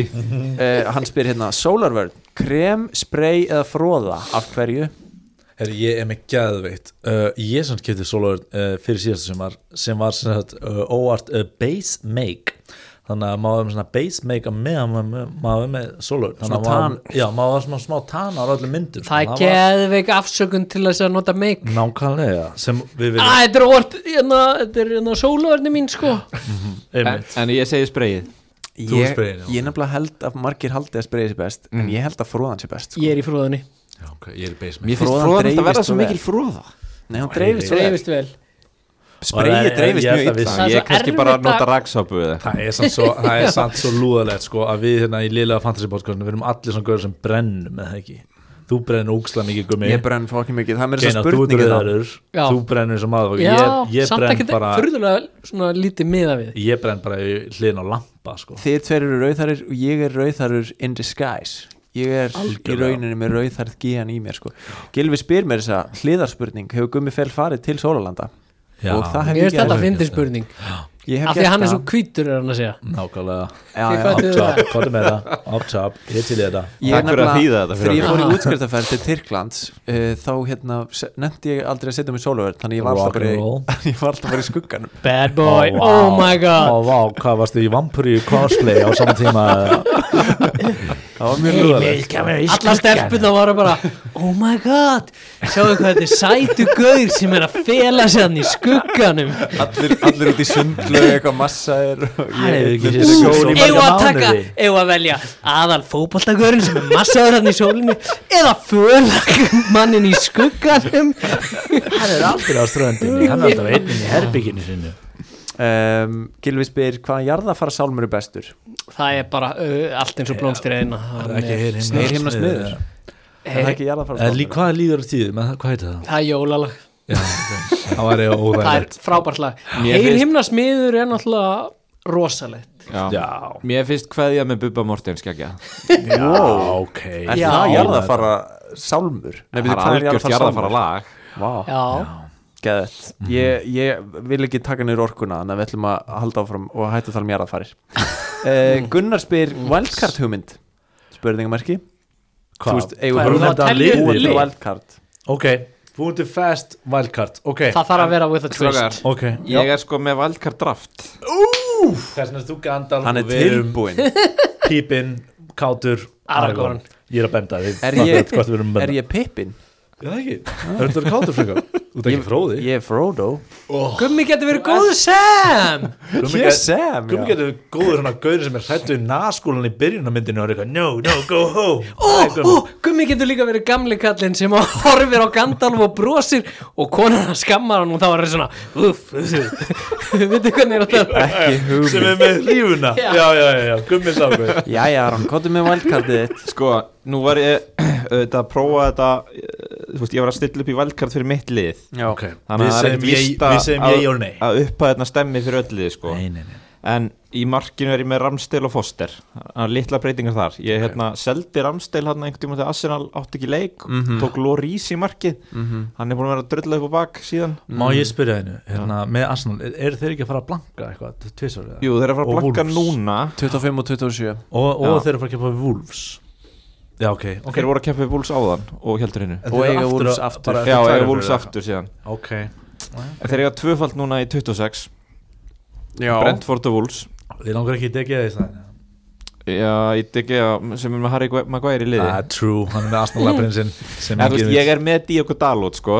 C: hann spyr hérna Solarvörn, krem, spray eða fróða af hverju?
B: Herri, ég er með gæðveitt uh, Ég sem skipti sólóður uh, fyrir síðasta sumar sem var sem sagt, uh, óvart uh, base make þannig að maður var með svona base make á meðan maður- maður maður var með sólóður
C: Svona tan.
B: Já, maður var svona smá tan á öllum myndum sko.
D: Það er
B: var-
D: geðveik afsökun til þess að nota make
B: Nákvæmlega sem við
D: Æ,
B: viljum
D: þetta er orð, hérna, þetta er hérna sóluverni mín, sko
A: En,
B: einmitt.
A: en ég segi spreyið
B: Þú Mm.
C: Ég,
B: sprayin, já.
C: ég nefnilega held að margir haldi að spraya sér best en ég held að fróðan sér best sko.
D: Ég er í fróðunni,
B: Já, ok, Ég er í base make
A: Mér finnst
C: Froðan
A: fróðan alltaf
C: dreifist
A: verða
C: svo
A: svo
C: vel.
A: mikil fróða
C: Nei, hún dreifist svo vel
D: dreifist vel
C: Sprayið dreifist
B: Ég held
C: mjög
B: að við-
C: illa
D: Það er
A: Ég
D: svo
A: kannski
D: erfitt
A: bara
D: að-
A: nota raksápu eða eitthvað.
B: Það er samt svo, það er samt svo lúðalegt sko að við hérna í liðlega fantasy podcastinu við erum allir svona gauður sem brennum eða ekki Þú brennur ógslega mikið gummi
C: Ég brenn fokkin mikið, það er mér svo
B: Geinar, þú ert
C: spurningi þá
B: rauðarur,
D: Já.
B: þú brennur sem maður
D: Já,
B: ég, ég
D: samt
B: brenn
D: ekki
B: bara,
D: furðulega svona lítið miða við
B: ég brenn bara í hliðin á lampa sko
C: Þið tveir eru rauðarir og ég er rauðarur in disguise Ég er í
B: Algjörlega.
C: rauninni með rauðarð gíjan í mér sko. Gilvi spyr mér þessa hliðarspurning hefur Gummi Fell farið til Sólalanda
B: Já.
C: og það hef
D: Ég
C: ég
D: veist
C: gert
D: þetta að fyndi spurning
C: Ég hef
D: Af því að hann er svo hvítur, er hann að segja
B: Nákvæmlega,
D: Þið
C: já, já.
D: föttuðu
B: up
D: það.
B: top, hvað er með það? Up top, ég er til í þetta
C: Ég er
A: Takk fyrir að
C: nefnilega-
A: þýða þetta fyrir
C: Þegar ég fór
D: okkur.
C: í útskriftaferð til Tyrklands uh, þá hérna, nefndi ég aldrei að setja mig sólaverð þannig ég var alltaf bara
B: Rock'n'roll.
C: í, ég var alltaf bara í skugganum
D: Bad boy, oh my
B: Ó,
D: god
B: vá, hvað varstu í vampur í cosplay á saman tíma
C: Það var mjög lúðalegt
D: Alla stelpuna voru bara Oh my god, sjáðu hvað þetta er sætu gaur sem er að fela sig hann í skugganum
C: allir, allir út í sundlu eitthvað massaðir og
B: Hann hefur ekki séð
C: undir einhverju
B: sól í
C: sól-
B: marga
D: Eða að taka,
B: mánuði.
D: eða að velja aðal fótboltagörun sem er massaður hann í sólinu eða fölag mannin í skugganum
B: Hann er aldrei á ströndinni, hann er aldrei einnig í herbygginu sinu
C: um, Gilvi spyr hvaða jarðafara sálmur er bestur
D: Það er bara uh, allt eins og blómstir eina Það er, Eh,
C: Snýr himna smiður Er það ekki jarðafara
B: Eh,
A: eh,
B: Hvað líður á tíðu, hvað heitir það?
D: það er jólalag
B: það var eiginlega
D: það er
B: óþægilegt
D: frábært lag
A: Mér
D: Egil
A: finnst-
D: himna smiður er náttúrulega rosalegt
A: Já.
B: Já,
A: Mér finnst kveðja með Bubba Mortens gegja
B: já, ok
C: Er
D: Já.
C: það jarðafara sálmur? Nei,
A: Það
C: veitir,
A: er
C: hvað
A: algjört jarðafara lag
C: Vá,
D: já,
C: geðett
B: Mhm.
C: ég, ég vil ekki taka niður orkuna Þannig að við ætlum að halda áfram og hættu að tala um jarðafarir uh, Gunnar spyr Wildcard hugmynd Spurningamerki Þú
B: Hvað?
C: veist, eigum
D: Hvað,
C: við
D: erum við að
C: hugmynd að
D: telja upp
C: búa til
D: lið?
C: Wildcard
B: Ok, búin til fast wildcard Ok,
D: það þarf að vera with a twist
A: Strákar,
B: ok
A: ég er sko með Valkar draft
B: Þess vegna er þú Gandalf
C: Hann er
B: og við erum
C: tilbúinn
B: Pípinn, Kátur,
D: Aragorn.
B: Ég er að benda þið
C: Er
B: Það
C: ég,
B: veit hvort við erum að
C: er
B: benda
C: ég Pippin?
B: Já, það ekki Það er þetta Kátur frekar Þú ert ekki fróði
C: Ég er Frodo
D: Gummi getur verið góð Sam
B: Gummi
C: Ég er
B: get-
C: Sam,
B: Gummi
C: já
B: getur góður hann að gauður sem er hrættu í naskúlan í byrjunarmyndinu og er eitthvað, no, no, go home Það er Gummi.
D: Ó, Gummi getur líka verið gamli kallinn sem horfir á Gandalf og brosir og konan hans skammar hann og þá er það svona uff, uff veitu hvernig er þetta
C: Ekki
B: sem
C: hugmynd
B: er með hlífuna
D: Já.
B: já, já, já, já, gummi sáku
C: Jæja, Aron, komdu með Wildcardið þitt
A: Sko, nú var ég auðvitað að prófa þetta eh, Þú veist, ég var að stilla upp í Valkar fyrir mitt lið
C: Já,
B: okay.
A: Þannig
B: við,
A: að það er
B: segjum
A: ekkert
B: ég,
A: víst
B: við segjum ég og
A: að-
B: nei
A: að uppa þarna stemmi fyrir öll lið sko.
B: nei, nei
A: en í markinu er ég með Ramsdale og Foster það er litla breytingar þar ég hérna, seldi Ramsdale hann einhvern tímann þegar Arsenal átti ekki leik tók Lorís í markið hann er búin að vera að drulla upp á bak síðan
B: Má ég spyrja hennu, hérna, með Arsenal er, eru þeir ekki að fara að blanka eitthvað, tvisar eða?
A: Jú, þeir eru að fara að
B: Og
A: blanka
B: Wolves.
A: núna
C: 25 og 27
B: og, og
A: Já.
B: þeir eru að fara að keppa við Wolves Já, ok, ok
A: þeir voru að keppa við Wolves áðan og heldur hennu
B: En
C: Og
B: þeir eru
C: eiga
B: aftur
C: Wolves
B: að-
C: aftur.
B: bara-
A: já, ég
B: þeir eru
A: er Wolves
B: fyrir
A: aftur síðan
B: það. Ok,
A: en þeir eru að tvöfald núna í 26
C: Já,
A: Brentford og Wolves
B: þið langar ekki að degja því það
A: já, ég degi að sem er með Harry Gu- Maguire í liði
B: Ah, true, hann er með Arsenal-lappurinn sinn
A: en,
B: sem
A: þú veist,
B: enginn
A: ég
B: vill.
A: er með Diogo Dalot sko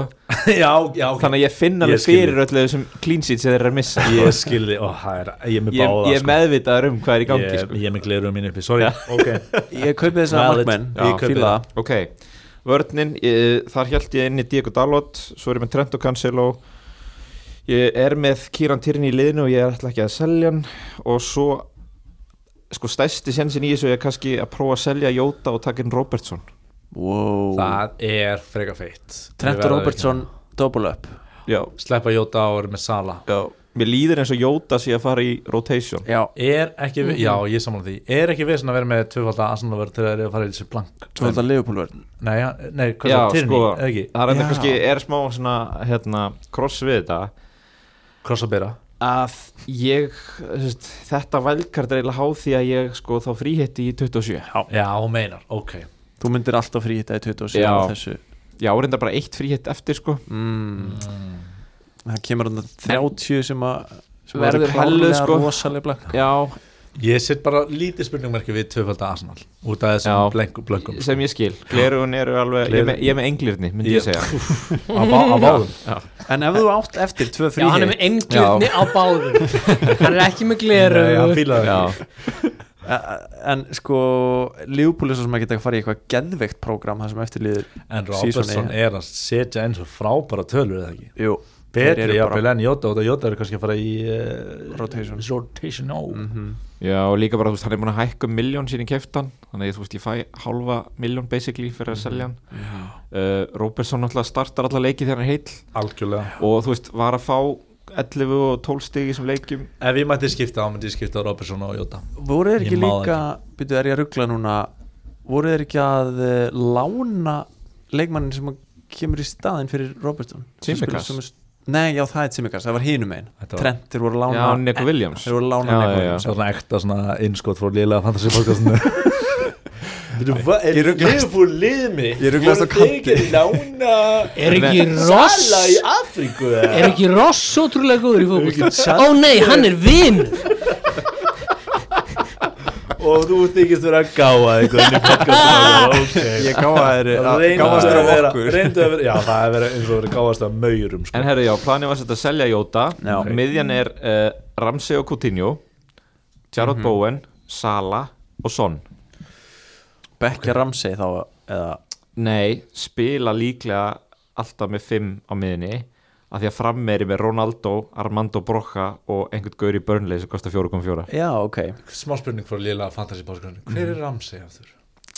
B: Já, já, ok
A: þannig að ég finna
B: Ég
A: alveg
B: skil
A: fyrir öllu þessum clean sheets sem þeir eru að missa sko.
B: Ég skilði, ó, það er, ég er með
A: ég,
B: báða
A: ég er meðvitaður um hvað er í
B: sko.
A: gangi
B: Ég-
A: sko.
B: Ég er með gleruðu mín uppi, sorry Ok,
C: ég kaupið þess að
B: Valid.
C: markmenn
B: Já,
C: Ég
B: kaupið
C: fíla
B: það.
C: það
A: ok, vörninn eh, þar held ég inn í Diego Dalot svo er ég með Trent og Cancelo ég er með Kieran Tierney í liðinu og ég er ætla ekki að selja hann og svo sko stæsti sensin í þessu er kannski að prófa að selja Jóta og taka inn Robertson
C: wow.
B: það er freka feitt
C: Trent og Robertson double up
A: já,
B: Sleppa Jóta og vera með Sala
A: já mér líður eins og Jóta sé að fara í rotation
C: Já,
B: Er ekki, mm. já ég samla því Er ekki vesen að vera með tvöfalda Arsenal-vörð til þegar þeir fara í þessu blank
C: tvölda Leopoldvörn
B: Nei, ja, nei, hvað
A: já,
B: er það,
A: sko,
B: Tyrni,
A: það er enda
C: Já.
A: kannski er smá svona, hérna, cross við þetta
B: ekki Krossabera
A: að ég þú veist, þetta vælkart er eiginlega háð því að ég sko þá fríhetti í 27
B: Já, hún meinar, ok
C: Þú myndir alltaf fríhitta í 27
A: Já.
C: á þessu
A: Já, reynda bara eitt fríhett eftir sko
C: mm. Það kemur hann 30 sem að sem
A: Verður
C: eru
A: helluð,
C: klárlega
A: sko.
C: rosaleg blakk
A: Já,
B: Ég set bara lítið spurningmerki við tvöfalda Arsenal Út af
A: Já.
B: þessum blengu, blöngum
A: sem ég skil Glerugun eru alveg, ég er með, ég er með englirni myndi ég segja
B: Á bá- á báðum
C: En ef þú átt eftir tvö
D: já, hann er
C: fríhitt
D: með englirni á báðum hann er ekki með gleru
B: Nei, hann fílaði það
A: Já,
C: En sko Leopold er svo sem að geta að fara í eitthvað geðveikt prógram það sem eftir líður
B: En
C: Season
B: Robertson er að setja eins og frábæra tölur eða ekki
C: Jú, Þeir eru
B: Betri
C: bara-
B: jafnvel en Jóta og Jóta eru kannski að fara í uh,
C: Rotation.
B: Rotation, já
A: já og líka bara, þú veist, hann er búin að hækka um miljón sín í keftan Þannig að þú veist, ég fæ hálfa miljón basically fyrir að selja hann uh, Róberson náttúrulega startar alla leiki þegar hann er heill
B: Algjörlega
A: Og þú veist, var að fá 11 og 12 stig í þessum leikjum
B: Ef ég mætti skipta, þá myndi ég skipta á Robertson og Jóta
C: voru þeir
B: Ég
C: ekki
B: má það
C: líka Býtu, er ég að ruggla núna Voru þeir ekki að eh, lána leikmannin sem að kemur í staðin fyrir Robertson Sem
A: Tsimikas?
C: spilar sömu- Nei, já, það er Tsimikas, það var hinum einn
B: Þetta var-
C: Trent, þeir voru að
A: Já,
C: lána
A: Neko Williams
C: Þeir voru að lána
A: Já, já,
C: Nick
A: já.
C: Williams.
B: Svona ekta svona innskot frá liðlega fantasy podcastinu
C: Ég ruglast-
B: fór lið mig
C: Ég ruglast á
B: Voru þið
C: kanti.
B: ekki lána
D: er ekki ross
B: Afríku
D: er ekki ross ótrúlega góður í fókból ó nei, hann er vinn
B: og þú þykist vera að gáða eitthvað í podcastinu okay.
C: Ég gáða þeir gáðast þeir af okkur
B: reyndu að vera já það er verið eins og verið gáðast af maurum sko.
A: En herru, já, planið var sett að selja Jóta
C: Já.
A: Miðjan er uh, Ramsey og Coutinho Jarrod
C: Mhm.
A: Bowen, Sala og Son
C: Bekkja Ramsey þá eða,
A: Nei, spila líklega alltaf með fimm á miðinni af því að frammeri með Ronaldo, Armando Broca og einhvern gaur í Burnley sem kostar 4,4
C: Já, ok
B: smá spurning frá liðlega fantasy podcastinu hver er Ramsey aftur?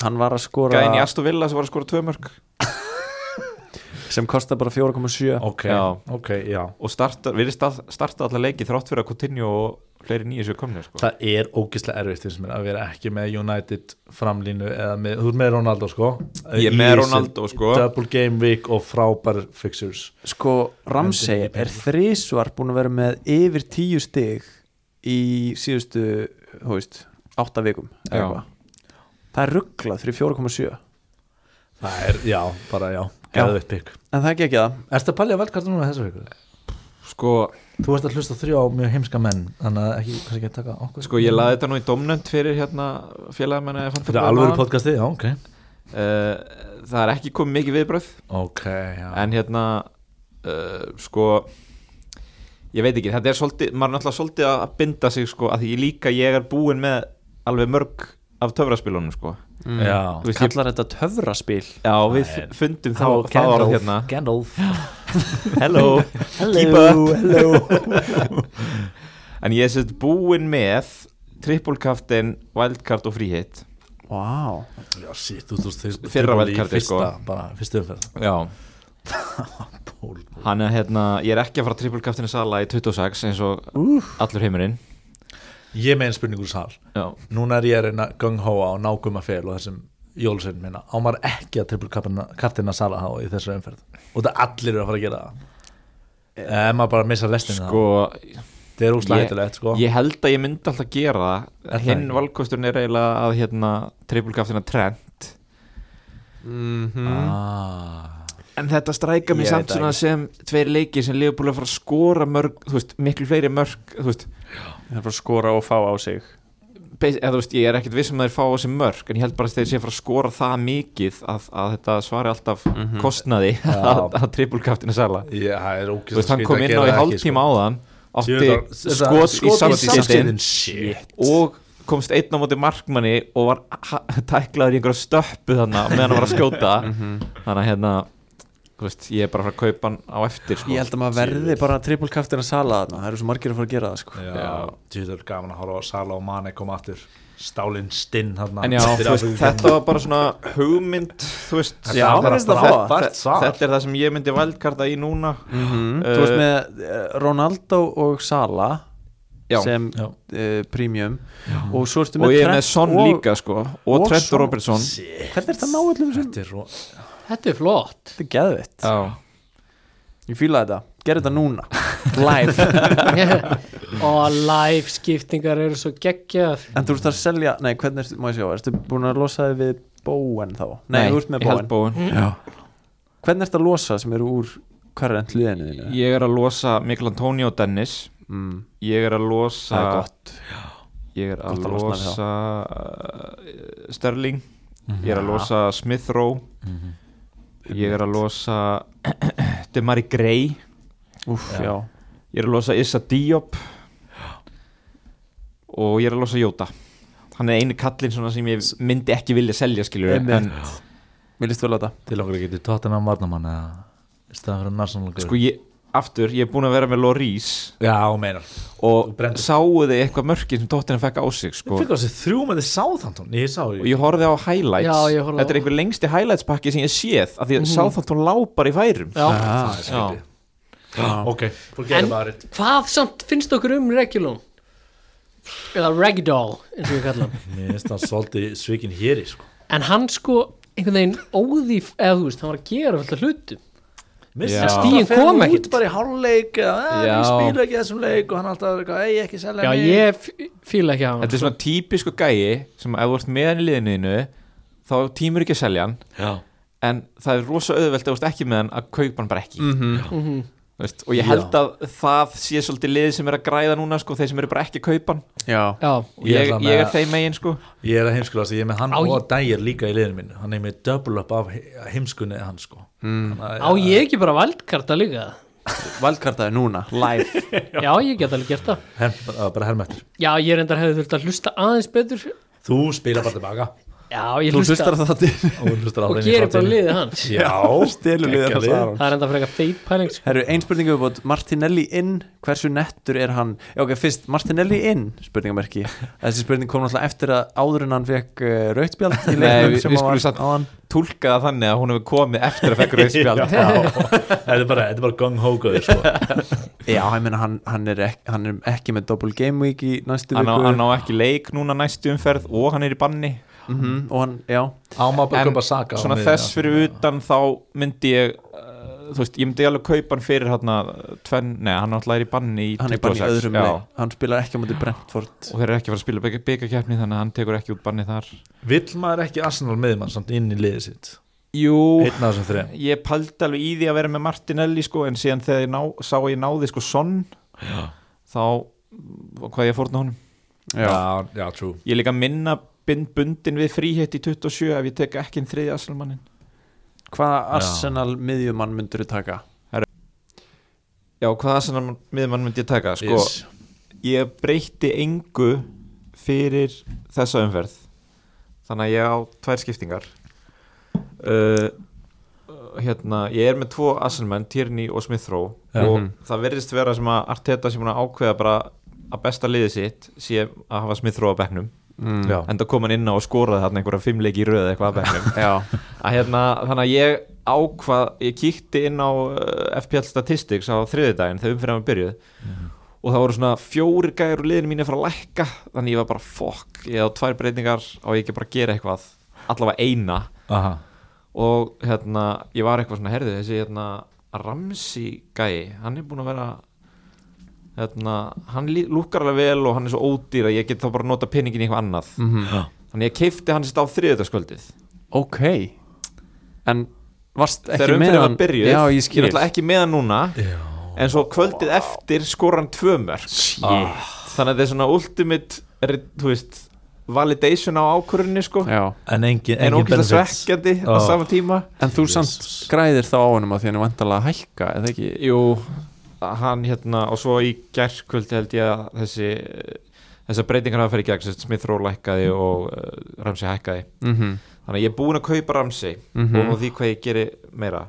C: Hann var að skora
A: Gæðin í Aston Villa sem var að skora tvö mörg
C: sem kostar bara 4,7
B: ok,
A: Já.
B: ok, já
A: og starta, við erum starta, starta allar leiki þrátt fyrir að Coutinho og fleiri nýju séu komni sko.
B: það er ógislega erfitt finnst mér að vera ekki með United framlínu eða með, þú er með Ronaldo sko
A: Ég er með Ronaldo, sko.
B: double game week og frábær fixers
C: sko Ramsey er þrísvar búin að vera með yfir 10 stig í síðustu þú veist, 8 vikum eða
A: Já.
C: eitthvað. það er rugglað fyrir 4,7
B: það er, já, bara já, geðu upp ykk
C: en það er ekki það
B: Erstu að palja velkartum núna þessu viku?
A: sko,
B: Þú ert að hlusta á þrjá mjög heimska menn þannig að ekki, kannski ekki taka okkur
A: sko ég laði þetta nú í domnönd fyrir hérna félagamenni
B: Fyrir alvöru podcasti, já, ok
A: uh, það er ekki komið mikið viðbröð
B: Ok, já
A: en hérna uh, sko ég veit ekki, þetta er svolítið maður er náttúrulega svolítið að binda sig sko, að því ég líka ég er búin með alveg mörg af töfraspilunum sko.
B: Já,
A: Þú veist, ég,
C: kallar þetta töfraspil
A: já við fundum þá, þá
B: Gandalf,
A: orð hérna
B: Gandalf
A: hello, keep up en ég er sérst búin með trippulkaftin, wildcard og fríhitt
C: wow.
B: Já, sítt, þú veist þeir-
A: Fyrra
B: þeir-
A: wildcardið,
B: fyrsta,
A: sko.
B: Bara, fyrstu umferð
A: já
B: Pól.
A: Hann er hérna, ég er ekki að fara trippulkaftinu sala í 26 eins og allur heimurinn
B: Ég með einn spurningur í sal
A: Já,
B: Núna er ég að reyna gung-hóa og nákvæma fel og þessum jólsinn minna á maður ekki að trippul kartina sala þá í þessari umferð og það allir eru að fara að gera það Ef maður bara missa lestin
A: Eh, sko,
B: það Það er úslega
A: ég-
B: hættilegt sko
A: ég held að ég myndi alltaf gera
B: Er það
A: það Hinn
B: ekki?
A: valkosturinn er eiginlega að hérna, trippulkaftina trend
C: Mhm.
B: ah.
A: En þetta stræka
B: Ég
A: mig
B: veit
A: samt
B: það
A: svona
B: ekki.
A: sem tveir leikir sem Leopold er að fara að skora mörg, þú veist, miklu fleiri mörg Þú veist,
C: það er bara að skora og fá á sig
A: beis, eða, þú veist ég er ekkert viss um að þeir fá þessi mörg En ég held bara að þeir sé að fara að skora það mikið að, að þetta svari alltaf
B: Mhm.
A: kostnaði að, að trippulkaftina sala
B: Já, það er
A: Þú
B: ógeðslega
A: veist, hann
B: skrítið
A: kom
B: að
A: inn
B: gera
A: á í
B: það ekki, sko.
A: hálftíma áðan
B: Djöfull,
A: átti
B: þetta-
A: skot í samskiptin
B: Shit
A: og komst einn á móti markmanni og var ha- tæklaður í einhverja stöppu þannig meðan hann var að skjóta þannig að hérna þú veist, ég er bara að fara að kaupa hann á eftir sko.
C: ég held að maður verði bara trippulkaftin að sala þarna það eru svo margir að fara að gera það sko.
B: Já, þetta er gaman að horfa á Sala og Mane koma aftur Stálinn stinn þarna
A: en já, þú veist, þetta var bara svona hugmynd þú veist
C: Já,
B: það
C: mér
B: var
C: finnst það
B: bara
C: frábært
B: frábært svar.
A: þetta er það sem ég myndi vældkarta í núna Uh,
C: þú veist með eh, Ronaldo og Sala
A: Já.
C: sem
B: Já.
C: uh, premium og svo
A: og
C: ertu með
A: ég er
C: Trent
A: með Son
C: og-
A: líka sko, og,
C: og
A: Trent
C: Son.
A: og Robertson
B: Shit,
C: hvernig er þetta ná öllum sem
B: Þetta er ro
D: Þetta er flott
C: þetta er geðvitt
A: já,
C: ég fýla þetta, gerð þetta núna live,
D: Og live skiptingar eru svo geggjað
C: en þú ert að selja nei, hvernig ertu, má ég sjá, ertu búin að losa þig við Bowen þá, nei, þú ert með
A: ég held
C: Bowen
A: bóin
C: hvernig ertu að losa sem eru úr current liðinu þínu
A: ég er að losa Mikl Antoni og Dennis
C: mm,
A: ég er að losa
C: það er gott
A: ég er að
C: Gott að losna við
A: losa uh, Sterling
C: Mhm.
A: ég er að losa Smith Rowe ég er að losa Demari Gray
C: Úff, já.
A: ég er að losa Issa Diop og ég er að losa Jóta hann er einu kallinn svona sem ég myndi ekki vilja selja skilur en
C: Einmitt. mér líst vel á þetta
B: Til okkur að geta tóttina varnamann eða staðan fyrir Narsson
A: sko ég aftur, ég er búin að vera með Loris
B: Já, meinar
A: og
B: Þú brenndir.
A: sáu þið eitthvað mörkin sem tóttina fekk á sig sko.
B: Ég fikk á þessi þrjú með þið sáþantón Ég sá
A: og ég horfði á highlights
D: Já, ég horfði á- Mhm.
A: þetta er einhver lengsti highlights pakki sem ég séð af því að mm. Southampton lápar í færum
D: Já.
B: Það er skrítið. Ok, forget
D: En
B: about it
D: hvað samt finnst okkur um Regulon? Eða Ragdoll eins og ég kalla hann
B: Mér finnst það svolítið svikin hér í sko
D: En hann sko einhvern veginn óði eða þú veist, hann var að gera alltaf hlutum
A: Já.
B: Mér finnst það
D: Stigin
B: fer
D: kom
B: hann
D: ekkert.
B: út bara í hálfleik eða,
A: Já.
B: Ég spila ekki þessum leik og hann alltaf er eitthvað, ei, ekki selja
D: Já,
B: mig."
D: ég f- fíla ekki á hann
A: þetta er svona típisku gæi sem ef þú ert með hann í liðinu þá tímur ekki að selja hann
B: Já.
A: en það er rosa auðvelt ef þú ert ekki með hann að kaupa hann bara ekki mm
D: Mhm.
A: Veist, og ég
B: Mhm. Já.
A: held að það sé svolítið liðið sem er að græða núna sko, þeir sem eru bara ekki að kaupa hann
C: já,
D: Já,
A: og
B: Ég
A: ég,
B: ætla
A: ég,
B: með-
A: er þeim megin sko
B: Ég er að heimskula þess að ég er með hann
D: Á,
B: og dægir líka í liðinu mínu Hann er með double up af he- heimskunni hans sko mm.
D: á ég ekki bara valdkarta líka
C: valkartaði núna, live
D: Já, ég get alveg gert það
B: Herm, bara herma eftir
D: Já, ég reyndar hefði þurft að hlusta aðeins betur
B: Þú spila bara tilbaka
E: Já, ég
C: Þú
E: hlusta
C: hlustar það þáttir
B: og hlustar á
E: og
B: þeim í
E: gerir bara
B: framtíðinni.
E: liðið hans
B: já,
F: Stelur liðið
B: Geggjað
F: hans
B: lið.
F: Aron
E: Það er enda frekar feit pæling sko.
C: Herru, ein spurningu við bótt Martinelli inn, hversu nettur er hann Já, ok, fyrst, Martinelli inn, spurningamerki Þessi spurning kom náttúrulega eftir að áður en hann fekk uh, rautspjald í
A: Nei,
C: leiknum
A: við-
C: sem
A: við
C: hann
A: skulum
C: var
A: samt-
C: áðan
A: Tólka það þannig að hún hefur komið eftir að fekk
B: Já.
A: rauðspjald
B: þetta er bara, þetta er bara gung-hókaður sko.
C: Já, ég meina, hann, hann, er ekki, hann er ekki með double game week í næstu
A: hann,
C: viku
A: á- hann á ekki leik núna næstu umferð og hann er í banni
C: Mhm, Og hann, já
B: áma bara
A: En
B: köpa saka á
A: svona
B: miðjuna,
A: þess
B: sko.
A: fyrir utan þá myndi ég uh, þú veist, ég myndi alveg kaupa hann fyrir hann tvenn, nei, hann náttúrulega er í banni í
C: Hann er bara í
A: 26,
C: öðrum
A: já.
C: leik Hann spilar ekki á móti Brentford
A: og þeir eru ekki að fara að spila byggakefni þannig að hann tekur ekki út banni þar
B: vill maður ekki Arsenal miðjumann samt inn í liðið sitt
A: Jú,
B: einn af þessum þrejum
A: ég paldi alveg í því að vera með Martinelli sko, en síðan þegar ég ná, sá að ég náði sko sonn þá hvað ég fórna honum
B: já, já, true
A: ég er líka að minna bind bundin við fríhet í 27 ef ég tek ekki en þriði asalmannin
C: Hvaða Arsenal miðjumann myndur þú taka?
A: já, hvað asalmann miðmann myndi ég taka sko,
B: Yes.
A: ég breytti engu fyrir þessa umferð þannig að ég á tvær skiptingar uh, hérna, ég er með tvo Asselmann, Tierney og Smithrow og það verðist vera sem að Arteta sem búin að ákveða bara að besta liðið sitt sé að hafa Smithrow á bekknum
C: Mm.
A: en það kom hann inn á og skoraði þarna einhverja fimmleiki í röð eða eitthvað að bekknum
C: Já,
A: að hérna, þannig að ég ákvað ég kíkti inn á uh, FPL Statistics á þriðidaginn þegar umfyrir að byrjuð og það voru svona fjóri gæður og liðin mín er fara að lækka þannig ég var bara fokk, ég hafði tvær breytingar og ég ekki bara að gera eitthvað, allavega eina
B: Aha.
A: og hérna, ég var eitthvað svona herðið þessi hérna Ramsi gæi hann er búin að vera hérna, hann lí- lúkkar alveg vel og hann er svo ódýr að ég get þá bara nota peningin í eitthvað annað þannig ég keifti hann sitt á þriðidagskvöldið
C: ok En varst ekki
A: þegar
C: með
A: umfyrir
C: hann
A: var byrjuð
C: Já, ég skil
A: er alltaf ekki með hann núna en svo kvöldið eftir skora hann tvö mörg ah. þannig að þetta er svona ultimate re- þú veist, validation á ákvörunni sko.
C: Já,
B: en engin,
A: en ógæslega
B: engin benefits
A: svekkjandi á
B: Ah.
A: sama tíma
C: en þú samt græðir þá á honum að því hann er vandalega að hækka eða ekki
A: jú, hann hérna og svo í gerkvöldi held ég að þessi þessar breytingar hafa fyrir gegn sem sagt, Smith Rowe lækkaði og uh, Ramsey hækkaði
C: mm -hmm.
A: þannig að ég er búinn að kaupa Ramsey
C: Mhm.
A: og því hvað ég geri meira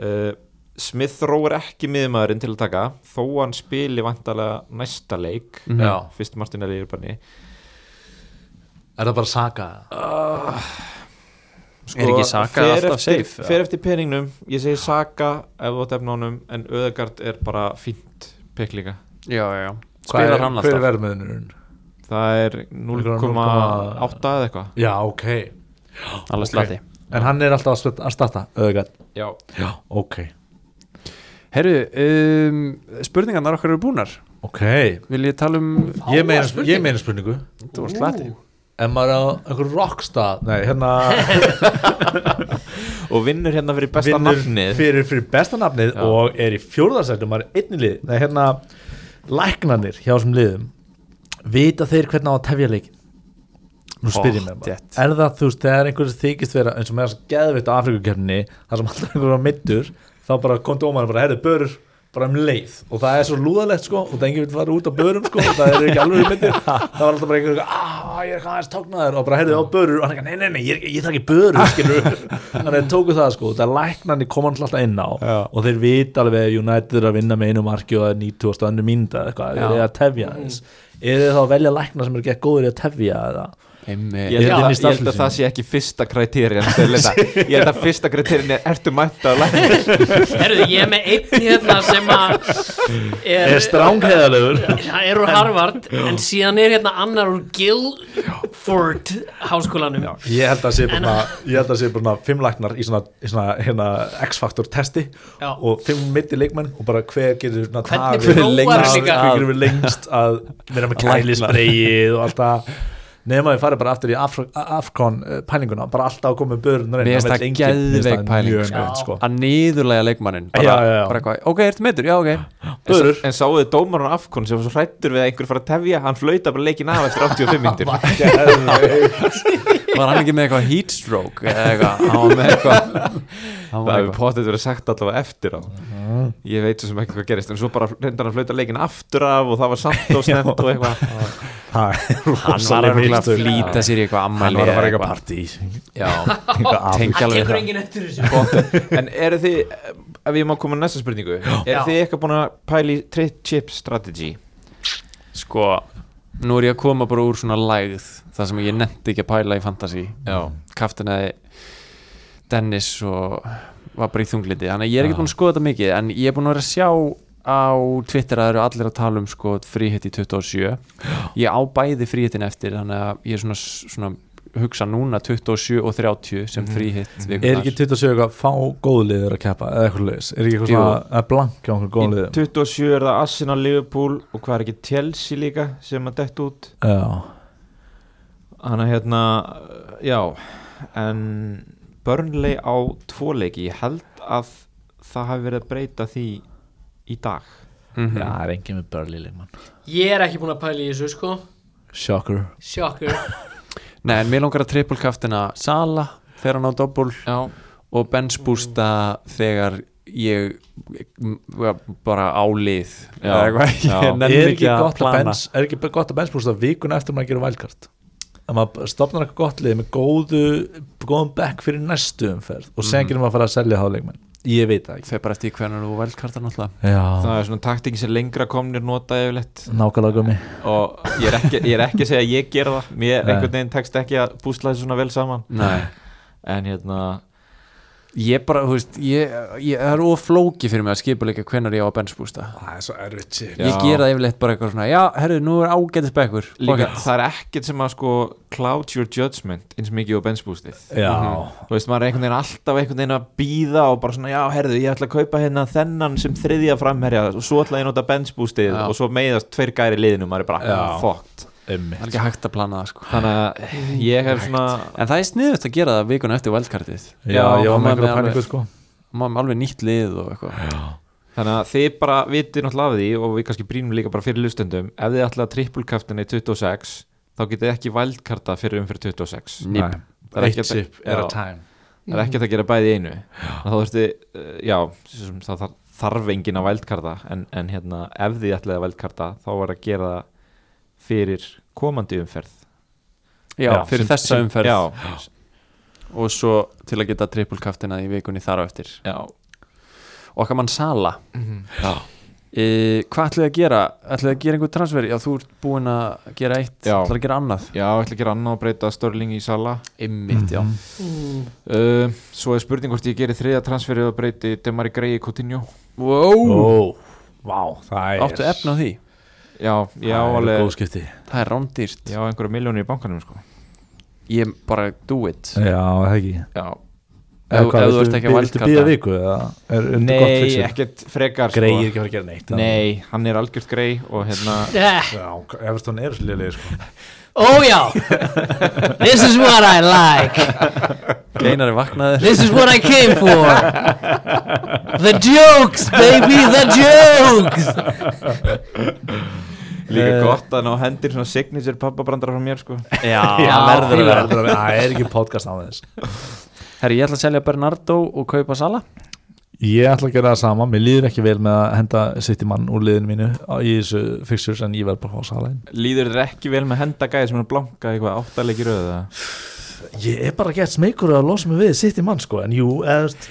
A: uh, Smith Rowe er ekki miðmaðurinn til að taka þó hann spili vantarlega næsta leik
C: Mhm.
B: Já.
A: fyrst Martinelli er banni
B: er það bara saka
A: Ah.
C: Er
A: Sko,
C: ekki Saka alltaf
A: eftir,
C: safe, eða?
A: fer eftir peningnum, ég segi Saka ef þú átt efnánum en Öðegard er bara fínt pekk líka
C: Já, já, já Spilar hann
B: hver er
C: alltaf
B: verðmiðunum
A: það er 0,8 eða eitthvað
B: já, ok
C: Alla slati
B: en hann er alltaf að sp- að starta öðgat
A: já,
B: já, ok
C: Herru, um, spurningarnar okkar eru búnar
B: ok
C: Vil ég tala um
B: ég meina sp- ég meina spurningu
C: Þú var slati
B: en maður á einhver rockstað nei, hérna
A: og vinnur hérna fyrir besta
B: vinnur
A: nafnið
B: fyrir, fyrir besta nafnið
A: Já.
B: og er í fjórðarsættu maður er einni lið Nei, hérna, læknanir hjá þessum liðum vita þeir hvernig á að tefja leikin nú spyr ég
C: Oh,
B: mér bara
C: þétt.
B: er það þú veist þegar einhverjum þykist vera eins og með þess að geðvitt á Afrikukerninni þar sem alltaf einhverjum var middur þá bara kom dómarinn bara herðu börur bara um leið og það er svo lúðalegt sko og það enginn vil fara út á börum sko og það er ekki alveg myndir það var alltaf bara einhverjum að ég er eitthvað aðeins tóknaður og bara herðu á börur og hann ekki nei nei nei ég, er- ég takk í börur skilur þannig að tóku það sko það læknarnir kom hann alltaf inn á og þeir vita alveg að United er að vinna með einu marki og það er 90 annu mínúta eða eitthvað þeir eru að tefja þess eru þið þá að velja læknar sem eru ekki góður í að tefja eða
A: Ég
C: Einmitt.
A: held,
B: Er
A: að,
B: inn í
A: ég held að það sé ekki fyrsta kriterien ég held að fyrsta kriterien er ertu mætt að lækna
D: Herru, ég er með einn hérna sem að er,
B: er strángheðalegur
D: Það er úr Harvard en síðan er hérna annar úr Guildford háskólanum
B: Ég held að sé bara, ég held að sé bara fimm læknar í svona, í svona hérna, X-faktor testi
D: Já.
B: og fimm mitti leikmenn og bara hver getur svona
D: Hvernig
B: tafið-
D: prófar
B: lengst-
D: líka?
B: hver getur við lengst að vera með kælisbreið og allt það nema við farið bara aftur í Afro- Afcon eh, pælinguna, bara alltaf að koma með börn
C: Mér finnst það geðveik pæling sko.
B: sko.
C: Að niðurlega leikmannin bara,
B: Já, já, já.
C: bara eitthvað, Ok, ertu meittur? Já, ok
B: Börur,
A: en sáuðu dómarun afkon sem var svo hrættur við að einhver fara að tefja hann flauta bara leikin af eftir 85 myndir
C: Var hann ekki með eitthvað heat stroke eða eitthvað Hann var með eitthvað Hann var
A: það hefur
C: eitthvað
A: potið verið sagt allavega eftir á ég veit svo sem ekki hvað gerist en svo bara reyndar hann að flauta leikin aftur af og það var samt og snemt og eitthvað
C: hann var
B: rosaleg
C: örugglega
B: mistök.
C: að flýta sér í eitthvað
B: hann
C: ammæli
B: var að fara
C: eða
B: eitthvað
C: eitthvað.
A: já,
B: partí eitthvað
C: Tengja
D: hann
C: alveg
D: tekur
C: það.
D: enginn eftir þessu
A: en eru þið ef ég má koma að næsta spurningu eru
D: Já.
A: þið eitthvað búin að pæli trade chip strategy
C: sko, nú er ég að koma bara úr svona lægð það sem ég nefndi ekki að pæla í fantasy
A: já,
C: kaftinaði Dennis og var bara í þunglindi þannig að ég er ekki búin að skoða þetta mikið en ég er búin að vera að sjá á Twitter að það eru allir að tala um sko fríhitt í 27 ég á bæði fríhittin eftir þannig að ég er svona, svona hugsa núna 27 og 30 sem fríhitt
B: Mhm. er ekki 27 eitthvað fá góðliður að keppa eða eitthvað leiðis, er ekki eitthvað
C: Jú.
B: svona að blanka
A: í
B: okkur góðliðum
A: 27 er það Arsenal, Liverpool og hvað er ekki Chelsea líka sem að dett út
B: já,
A: Þannig að hérna, já, en Burnley á tvo leiki, ég held að það hafi verið að breyta því í dag.
C: mm
B: Já, það er engin með Burley leikmann
D: ég er ekki búin að pæla í þessu sko
B: shocker
D: sjokkur
C: Nei, en mér langar að triple kaftina Sala þegar hann á doppul
A: Já.
C: og bench boosta þegar ég m- bara álið
A: Já, já.
C: ég
B: er
C: nenni
B: ekki,
C: ekki að
B: gott að
C: plana
B: bens, er ekki bara gott að benchbústa vikuna eftir maður að gera valkart að maður stopnar eitthvað gott lið með góðu góðum back fyrir næstu umferð og sen getur maður að fara að selja háleikmenn ég veit það
C: Þegar bara eftir því hvernig þú velkartar náttúrulega
B: ekki já,
A: Það er svona taktíkin sem lengra komnir nota yfirleitt
B: nákvæmlega gummi
A: og ég er ekki, ég er ekki að segja að ég gera það, mér
B: Nei.
A: einhvern veginn tekst ekki að búsla þessu svona vel saman.
C: Nei.
A: En hérna,
C: Ég bara, þú veist, ég, ég það er oflóki fyrir mig að skipa líka hvernig ég á að bench boosta
B: það er svo erfitt sér
A: Já.
C: Ég gera það yfirleitt bara eitthvað svona Já, herru, nú er ágætis bekkur
A: líka,
C: Pocket.
A: það er ekkert sem að sko cloud your judgment eins mikið og benchboostið.
B: já,
A: Þú veist, maður er einhvern veginn alltaf einhvern veginn að býða og bara svona, já, herðu, ég ætla að kaupa hérna þennan sem þriðja framherja og svo ætla ég að nota benchboostið
C: Já.
A: og svo meiðast tveir gæri liðinu, maður er bara
B: Já.
A: fokkt.
B: ummi
C: Það er ekki hægt að plana það sko
A: Þannig að ég hef svona,
C: En það er sniðust að gera það vikuna eftir velkartið
B: já, ég var með einhverja
C: alveg,
B: paníku sko
C: maður með alveg nýtt lið og eitthvað
A: þannig að þið bara vitið náttúrulega af því og við kannski brínum líka bara fyrir lustendum, ef þið ætla að trippulkaftinni 26, þá getið þið ekki vældkarta fyrir umfyrir 26.
C: Nýp
A: Það er
B: eitt
A: ekki að-
B: chip er
A: já.
B: a time
A: Það er ekkert að gera bæði í einu. Þá þurfti, uh, já, svo sem það þarf- þarf engin að vældkarta en, en hérna, ef þið ætlaði að vældkarta þá var að gera það fyrir komandi umferð
C: Já,
B: Já,
C: fyrir
A: sem-
C: þessa
A: sem-
C: umferð
A: já,
C: og svo til að geta trippulkaftina í vikunni þar á eftir
A: já.
C: okkar mann Sala e, Hvað ætlið þið að gera? Ætlið þið að gera einhver transfer? Já, þú ert búinn að gera eitt
A: Já.
C: ætlið að gera annað
A: já, ég ætla að gera annað og breyta Störling í Sala
C: Einmitt, já
D: mm.
A: uh, Svo er spurning hvort ég gerir þriða transferið og breyti Demari Grey í Coutinho
C: wow.
B: ó, vá, það er
C: Áttu efna á því?
A: Já, já,
B: það er
A: alveg
B: góð skipti
C: Það er rándýrt
A: Já, einhverja miljónir í bankanum sko
C: Ég bara do it
B: já, það er ekki
A: Já,
C: Ef- ef þú ert ekki að
B: viltu
C: wildcarda.
B: býða viku eða er er þetta gott
A: Nei,
B: fixið?
A: ekkert frekar
B: Grey er ekki að fara að gera neitt
A: sko Nei, hann er algjört Grey og hérna
D: Eh,
B: Já, Everton er liðlega sko.
D: ó já this is what I like
C: Einar er vaknaður
D: this is what I came for the jokes baby the jokes
A: Líka
B: Eh.
A: gott að ná hendir svona signature pappabrandara frá mér sko
C: Já,
B: Það
C: verður að vera
B: verður að vera Það er ekki podcast á þess
C: Herri, ég ætla að selja Bernardo og kaupa Sala
B: Ég ætla að gera það sama, mér líður ekki vel með að henda sitt í mann úr liðinu mínu á- í þessu fixtures en ég verð bara að fá salæn
A: Líður þér ekki vel með hendagæði sem er að blanka eitthvað áttalegi röða
B: Ég er bara gett smekur að losa mig við sitt í mann sko, en jú, eðast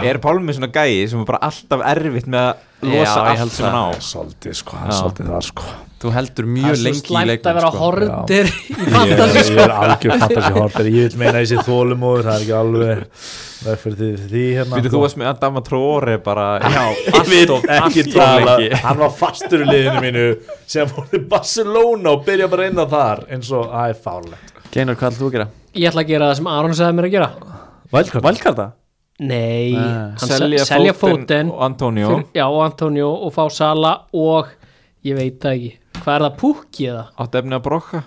A: Er Pálmi svona gæi sem er bara alltaf erfitt með að losa
C: Já, ég held
A: allt sem hann á
B: Svolítið sko,
A: Já.
B: svolítið það sko
C: Þú heldur
D: það
C: mjög
D: er svo
C: lengi í
D: slæmt að
C: leikmann
D: vera
C: sko.
D: hordir í
B: Ég er,
D: fantasy
B: ég
D: sko
B: er algjör fantasy hortar, ég vil meina þessi þólumóður, það er ekki alveg verð fyrir því, því hérna
A: Býtu
B: sko.
A: þú að smið að dama tróri bara Já,
B: Ég vil ekki tala hann var fastur í liðinu mínu sem fór til Barcelona og byrja bara inn á þar eins og sko. það er fálegt
C: Geinar, hvað ætlum þú að gera?
D: ég ætla að gera það sem Aron sagði mér að gera
B: Vælkart
C: Valkarta?
D: nei,
C: Nei.
D: hann selja, selja fóten
A: og Antonio
D: fyrir, já, og Antonio og fá Sala og ég veit það ekki hvað er það, Pukki eða?
A: Áttu efni að brokka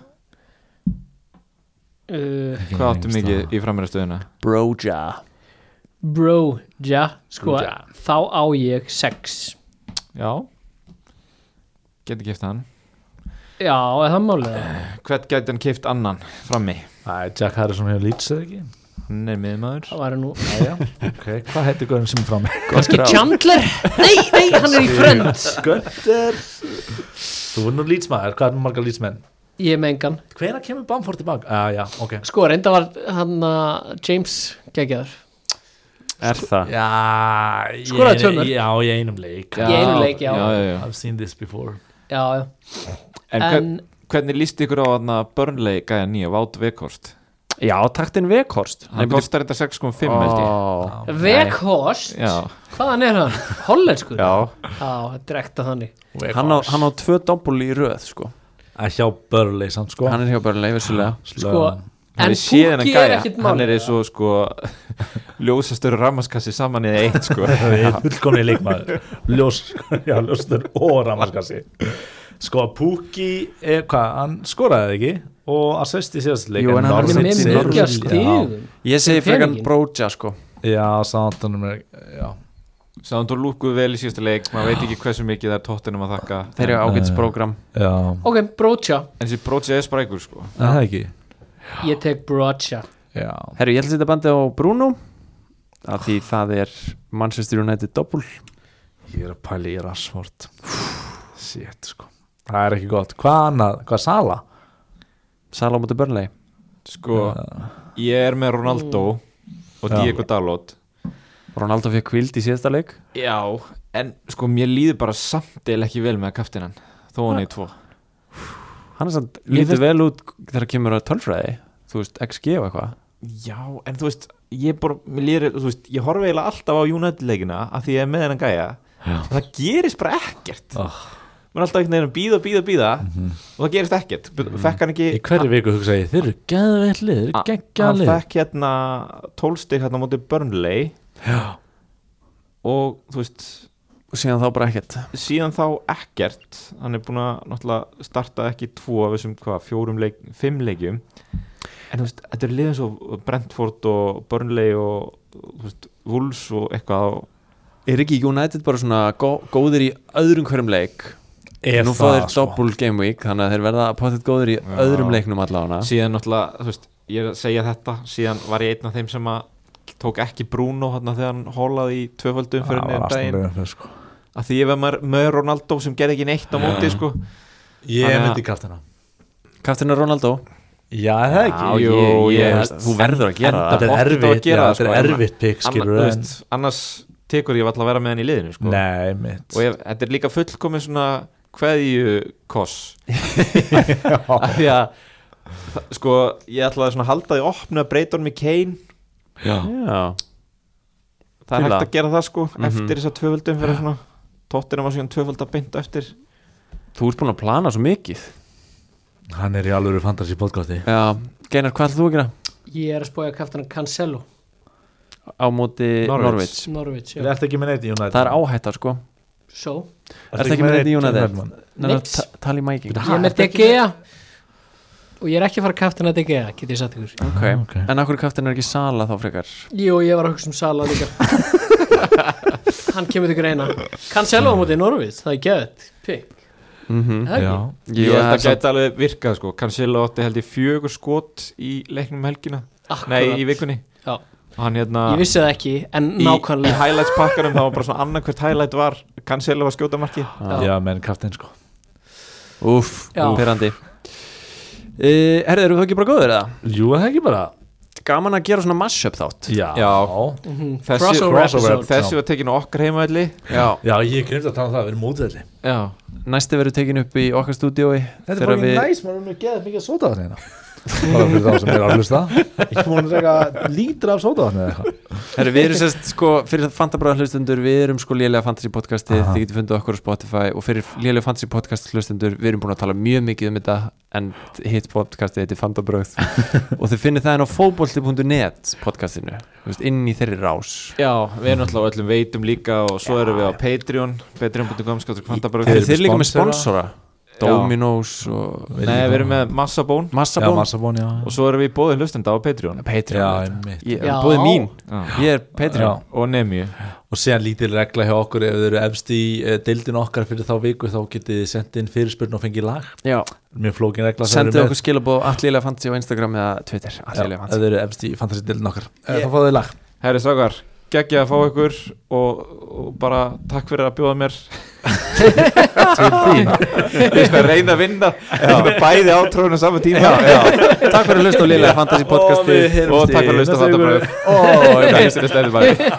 D: Uh,
A: Hvað áttu mikið í framherjastöðuna?
C: Broja
D: bro, ja, sko þá á ég 6
A: Já Geti kipt hann
D: já, er það málið?
A: Hvert gæti hann kipt annan frammi?
B: Æ, Jack Harrison hefur lýtsað ekki
A: Hann er miðmaður
D: það væri nú
B: ok, hvað hættu Gaurin sem er frá mig?
G: Kannski Chandler? Nei, nei, hann er í Friends
B: Gunther Þú er nú lýtsmaður, hvað er nú marga lýtsmenn?
D: ég með engan
B: Hvenær kemur Bamford tilbaka? Ah, já, ok
D: sko reynda var hann að James geggjaður
C: Er það?
B: Já,
D: Skoraði tvö mörk.
B: Já, í einum leik
D: Í einum leik, já.
H: já, já, já.
B: I've seen this before
D: já, já.
A: En,
D: en
A: en hvernig líst ykkur á hann að Burnley gæja nýja Vátt Vekhorst?
C: Já, taktin Vekhorst
A: Hann kostar þetta 6,5 held ég
C: oh.
D: Vekhorst
A: Já,
D: hvaðan er hann? Hollenskur?
A: já,
D: já drekta þannig
C: hann, á, hann á tvö doppul í röð sko.
B: Að hjá Burnley samt sko
C: Hann er hjá bara leifisulega
D: sko,
A: hann
D: en
A: er síðan
D: Pukki
A: að
D: er
A: gæja
D: ekkit mál
A: Hann er eins og sko ljósastur ramaskassi saman eða eitt sko
B: fullkomni leikmaður Ljós, já, ljóstur og ramaskassi sko, Pukki er, hvað, hann skoraði ekki og assist í síðast leik
C: Jú, en hann er
D: hann er
B: Norwich
D: með
C: Norwich-
B: situr-
D: mikið
C: Norwich-
D: að stíðum
C: Ég segi
D: Fyrir
C: frekan
D: peningin.
C: Broja sko.
B: já, já Southampton er- já,
A: Sáðan þú lúkuðu vel í síðasta leik maður veit ekki hversu mikið það er tóttinum að þakka
C: Þeir eru ágætis program
B: já,
D: ok, Brocha
A: En þessi brótsið er sprækur sko
B: er það ekki
D: ég tek Brocha
B: já,
C: Herru, ég ætla að setja bandið á Bruno af því það er Manchester United doppul
B: ég er að pæla í Rashford shit, sko það er ekki gott, hvað annað, hvað Sala
C: Sala á móti Burnley
A: Sko, ég er með Ronaldo og
B: Já.
A: Diego Dalot
C: Ronaldo fyrir kvild í síðasta leik
A: Já, en sko mér líður bara samt eða ekki vel með kaftinan Þó hann í tvo
C: Hann er samt lítið vel út þegar kemur að tölfræði Þú veist, XG og eitthvað
A: Já, en þú veist, ég bara, mér líður, þú veist, ég horfi eiginlega alltaf á United-leikina að því ég er með hennan gæja og það gerist bara ekkert
B: Oh.
A: Mér er alltaf einhvern veginn að býða, býða, býða og það gerist ekkert, mm. fekk hann ekki
B: Mhm. í hverju viku hugsa ég, þeir eru geðveitt lið þeir eru
A: A-
B: geggjað
A: Hann
B: lið
A: fekk hérna tólstig hérna á móti Burnley
B: Já.
A: og þú veist,
C: Og síðan þá bara ekkert
A: síðan þá ekkert hann er búin að náttúrulega starta ekki tvo af þessum hvað, fjórum leik, fimm leikjum en þú veist, þetta er liðan svo Brentford og Burnley og þú veist, Wolves og eitthvað og,
C: Er ekki United bara svona gó góðir í öðrum hverjum leik
B: Ef
C: Nú fá
B: það, sko?
C: þeir doppul game week Þannig að þeir verða potið góðir í öðrum leiknum allavega
A: síðan náttúrulega, þú veist, ég er að segja þetta síðan var ég einn af þeim sem að tók ekki Bruno hérna þegar hann hólaði í tvöföldum fyrir
B: Það var
A: henni daginn
B: asnalega fyrir, sko.
A: að því ég var með- með Ronaldo sem gerði ekki neitt á móti sko
B: ég
A: Þannig að-
B: myndi kaftina
C: Kaftina Ronaldo
B: já, er það ekki
A: Jú, ég-
C: Þú verður að gera
B: Þetta
C: það
A: Pottet
B: er
A: á að
B: erfitt, já,
A: gera það,
B: þetta
A: sko,
B: er
A: en-
B: erfitt pikk
A: Anna,
B: skilur
A: þú
B: en
A: veist, annars tekur ég alltaf að vera með hann í liðinu sko.
B: Nei, mitt
A: og ég, þetta er líka fullkomin svona kveðju koss af því að þa- sko ég ætlaði svona að halda því opnu að breyta honum í Kane
C: Já,
A: það er
C: Fíla.
A: hægt að gera það sko eftir þess að tvöföldum fyrir svona tóttina var síðan tvöföld að bynda eftir
C: þú ert búin að plana svo mikið
B: Hann er í alvöru fantasy podcasti
C: Já, Geinar, hvað ætlum þú að gera?
D: ég er að spója kaftan Cancelo
C: Á móti
A: Norwich.
C: Norvits
D: Norwich,
B: Er
D: já
B: þetta ekki með neitt í United?
C: Það er áhætta sko
D: so
C: Er þetta ekki með neitt í United?
B: mann?
C: Nei,
D: Nix.
C: ta- tala í mæking
D: ég er með De Gea og ég er ekki að fara kaftan að De Gea get ég sagt ykkur
C: okay.
B: ok.
C: En akkur kaftin er ekki Sala þá frekar
D: Jú, ég var að hugsa um Sala líka Hann kemur til greina Cancelo á móti Norvits, það er gæðið Pick,
C: mm
D: það er
B: Já,
D: ekki
A: ég held að
C: samt,
A: gæta alveg virkað sko Cancelo átti held ég fjögur skot í leiknum um helgina
D: Akkurat.
A: nei í vikunni
D: Já.
A: Og hann hérna
D: Ég vissi það ekki, en
A: í, í
D: nákvæmlega
A: highlights pakkanum það var bara svona annarkvært highlight var Cancelo að skjóta marki
D: Já.
B: já menn kaftin sko
C: Úf,
D: Já.
C: perandi uh, Herðu, eru þú ekki bara góður eða?
B: Jú, er það ekki bara
C: Gaman að gera svona mashup þátt
B: Já Já,
D: Mhm.
A: þessi-
D: Crossover
B: crossover.
D: episode
A: þessi var tekin á okkar heimaðli
C: Já,
B: ég glemt að tala um það, við erum mótvelli
A: já
C: næsti verður tekin upp í okkar stúdíói
B: Þetta er
C: þegar
B: bara við...
C: við-
B: næs, maður er nú geðað mikið sótaðan hérna Bara fyrir þá sem er að hlusta Ég múin að segja lítra af sótaðan eða eitthvað
C: Herru, við erum sérst sko, fyrir fantabræða hlustundur við erum sko lélega fantasy podcasti
B: Aha.
C: þið getur fundið okkur á Spotify og fyrir lélega fantasy podcast hlustundur, við erum búin að tala mjög mikið um þetta en hitt podcasti heitir fantabræð og þið finnir það en á fótbolti.net podcastinu þú veist, inn í þeirri rás
A: Já, við erum alltaf á öllum veitum líka og svo erum við á Patreon, patreon.com skáttur kvantabröð
C: Eru þið líka með
B: sponsora?
C: sponsora? Dominos og
A: Nei, við erum með massabón
B: Já,
C: Massabón
B: Massabón, já
A: og svo erum við bóðin hlustenda á Patreon
B: Já,
C: Patreon
B: einmitt
C: Ég-
D: Já.
C: Búið mín,
A: Já.
C: ég er Patreon
A: og Nemi
B: Og síðan lítil regla hjá okkur ef þau eru efst í uh, deildin okkar fyrir þá viku þá getið þið sendt inn fyrirspurn og fengið lag
C: Já,
B: Mér flókin regla það eru
C: sendið
B: með-
C: okkur skilabóð Allilega fantasy á Instagram eða Twitter
B: Já,
C: Allilega
B: ef
C: fantasy
B: þau eru efst í fantasy deildin okkar yeah. Þá fáðu þið lag
A: Herri Sagar, geggja að fá ykkur og, og bara takk fyrir að bjóða mér Til þín Ég skal reyna að vinna bæði átrónu saman tíma
C: Takk fyrir að hlusta á Lilega fantasy
B: Og við
C: podcasti
B: heyrumst
A: og takk fyrir að
B: í
A: hlusta
B: næsta
A: á
B: viku.
A: þetta bröð og það er stæðið bara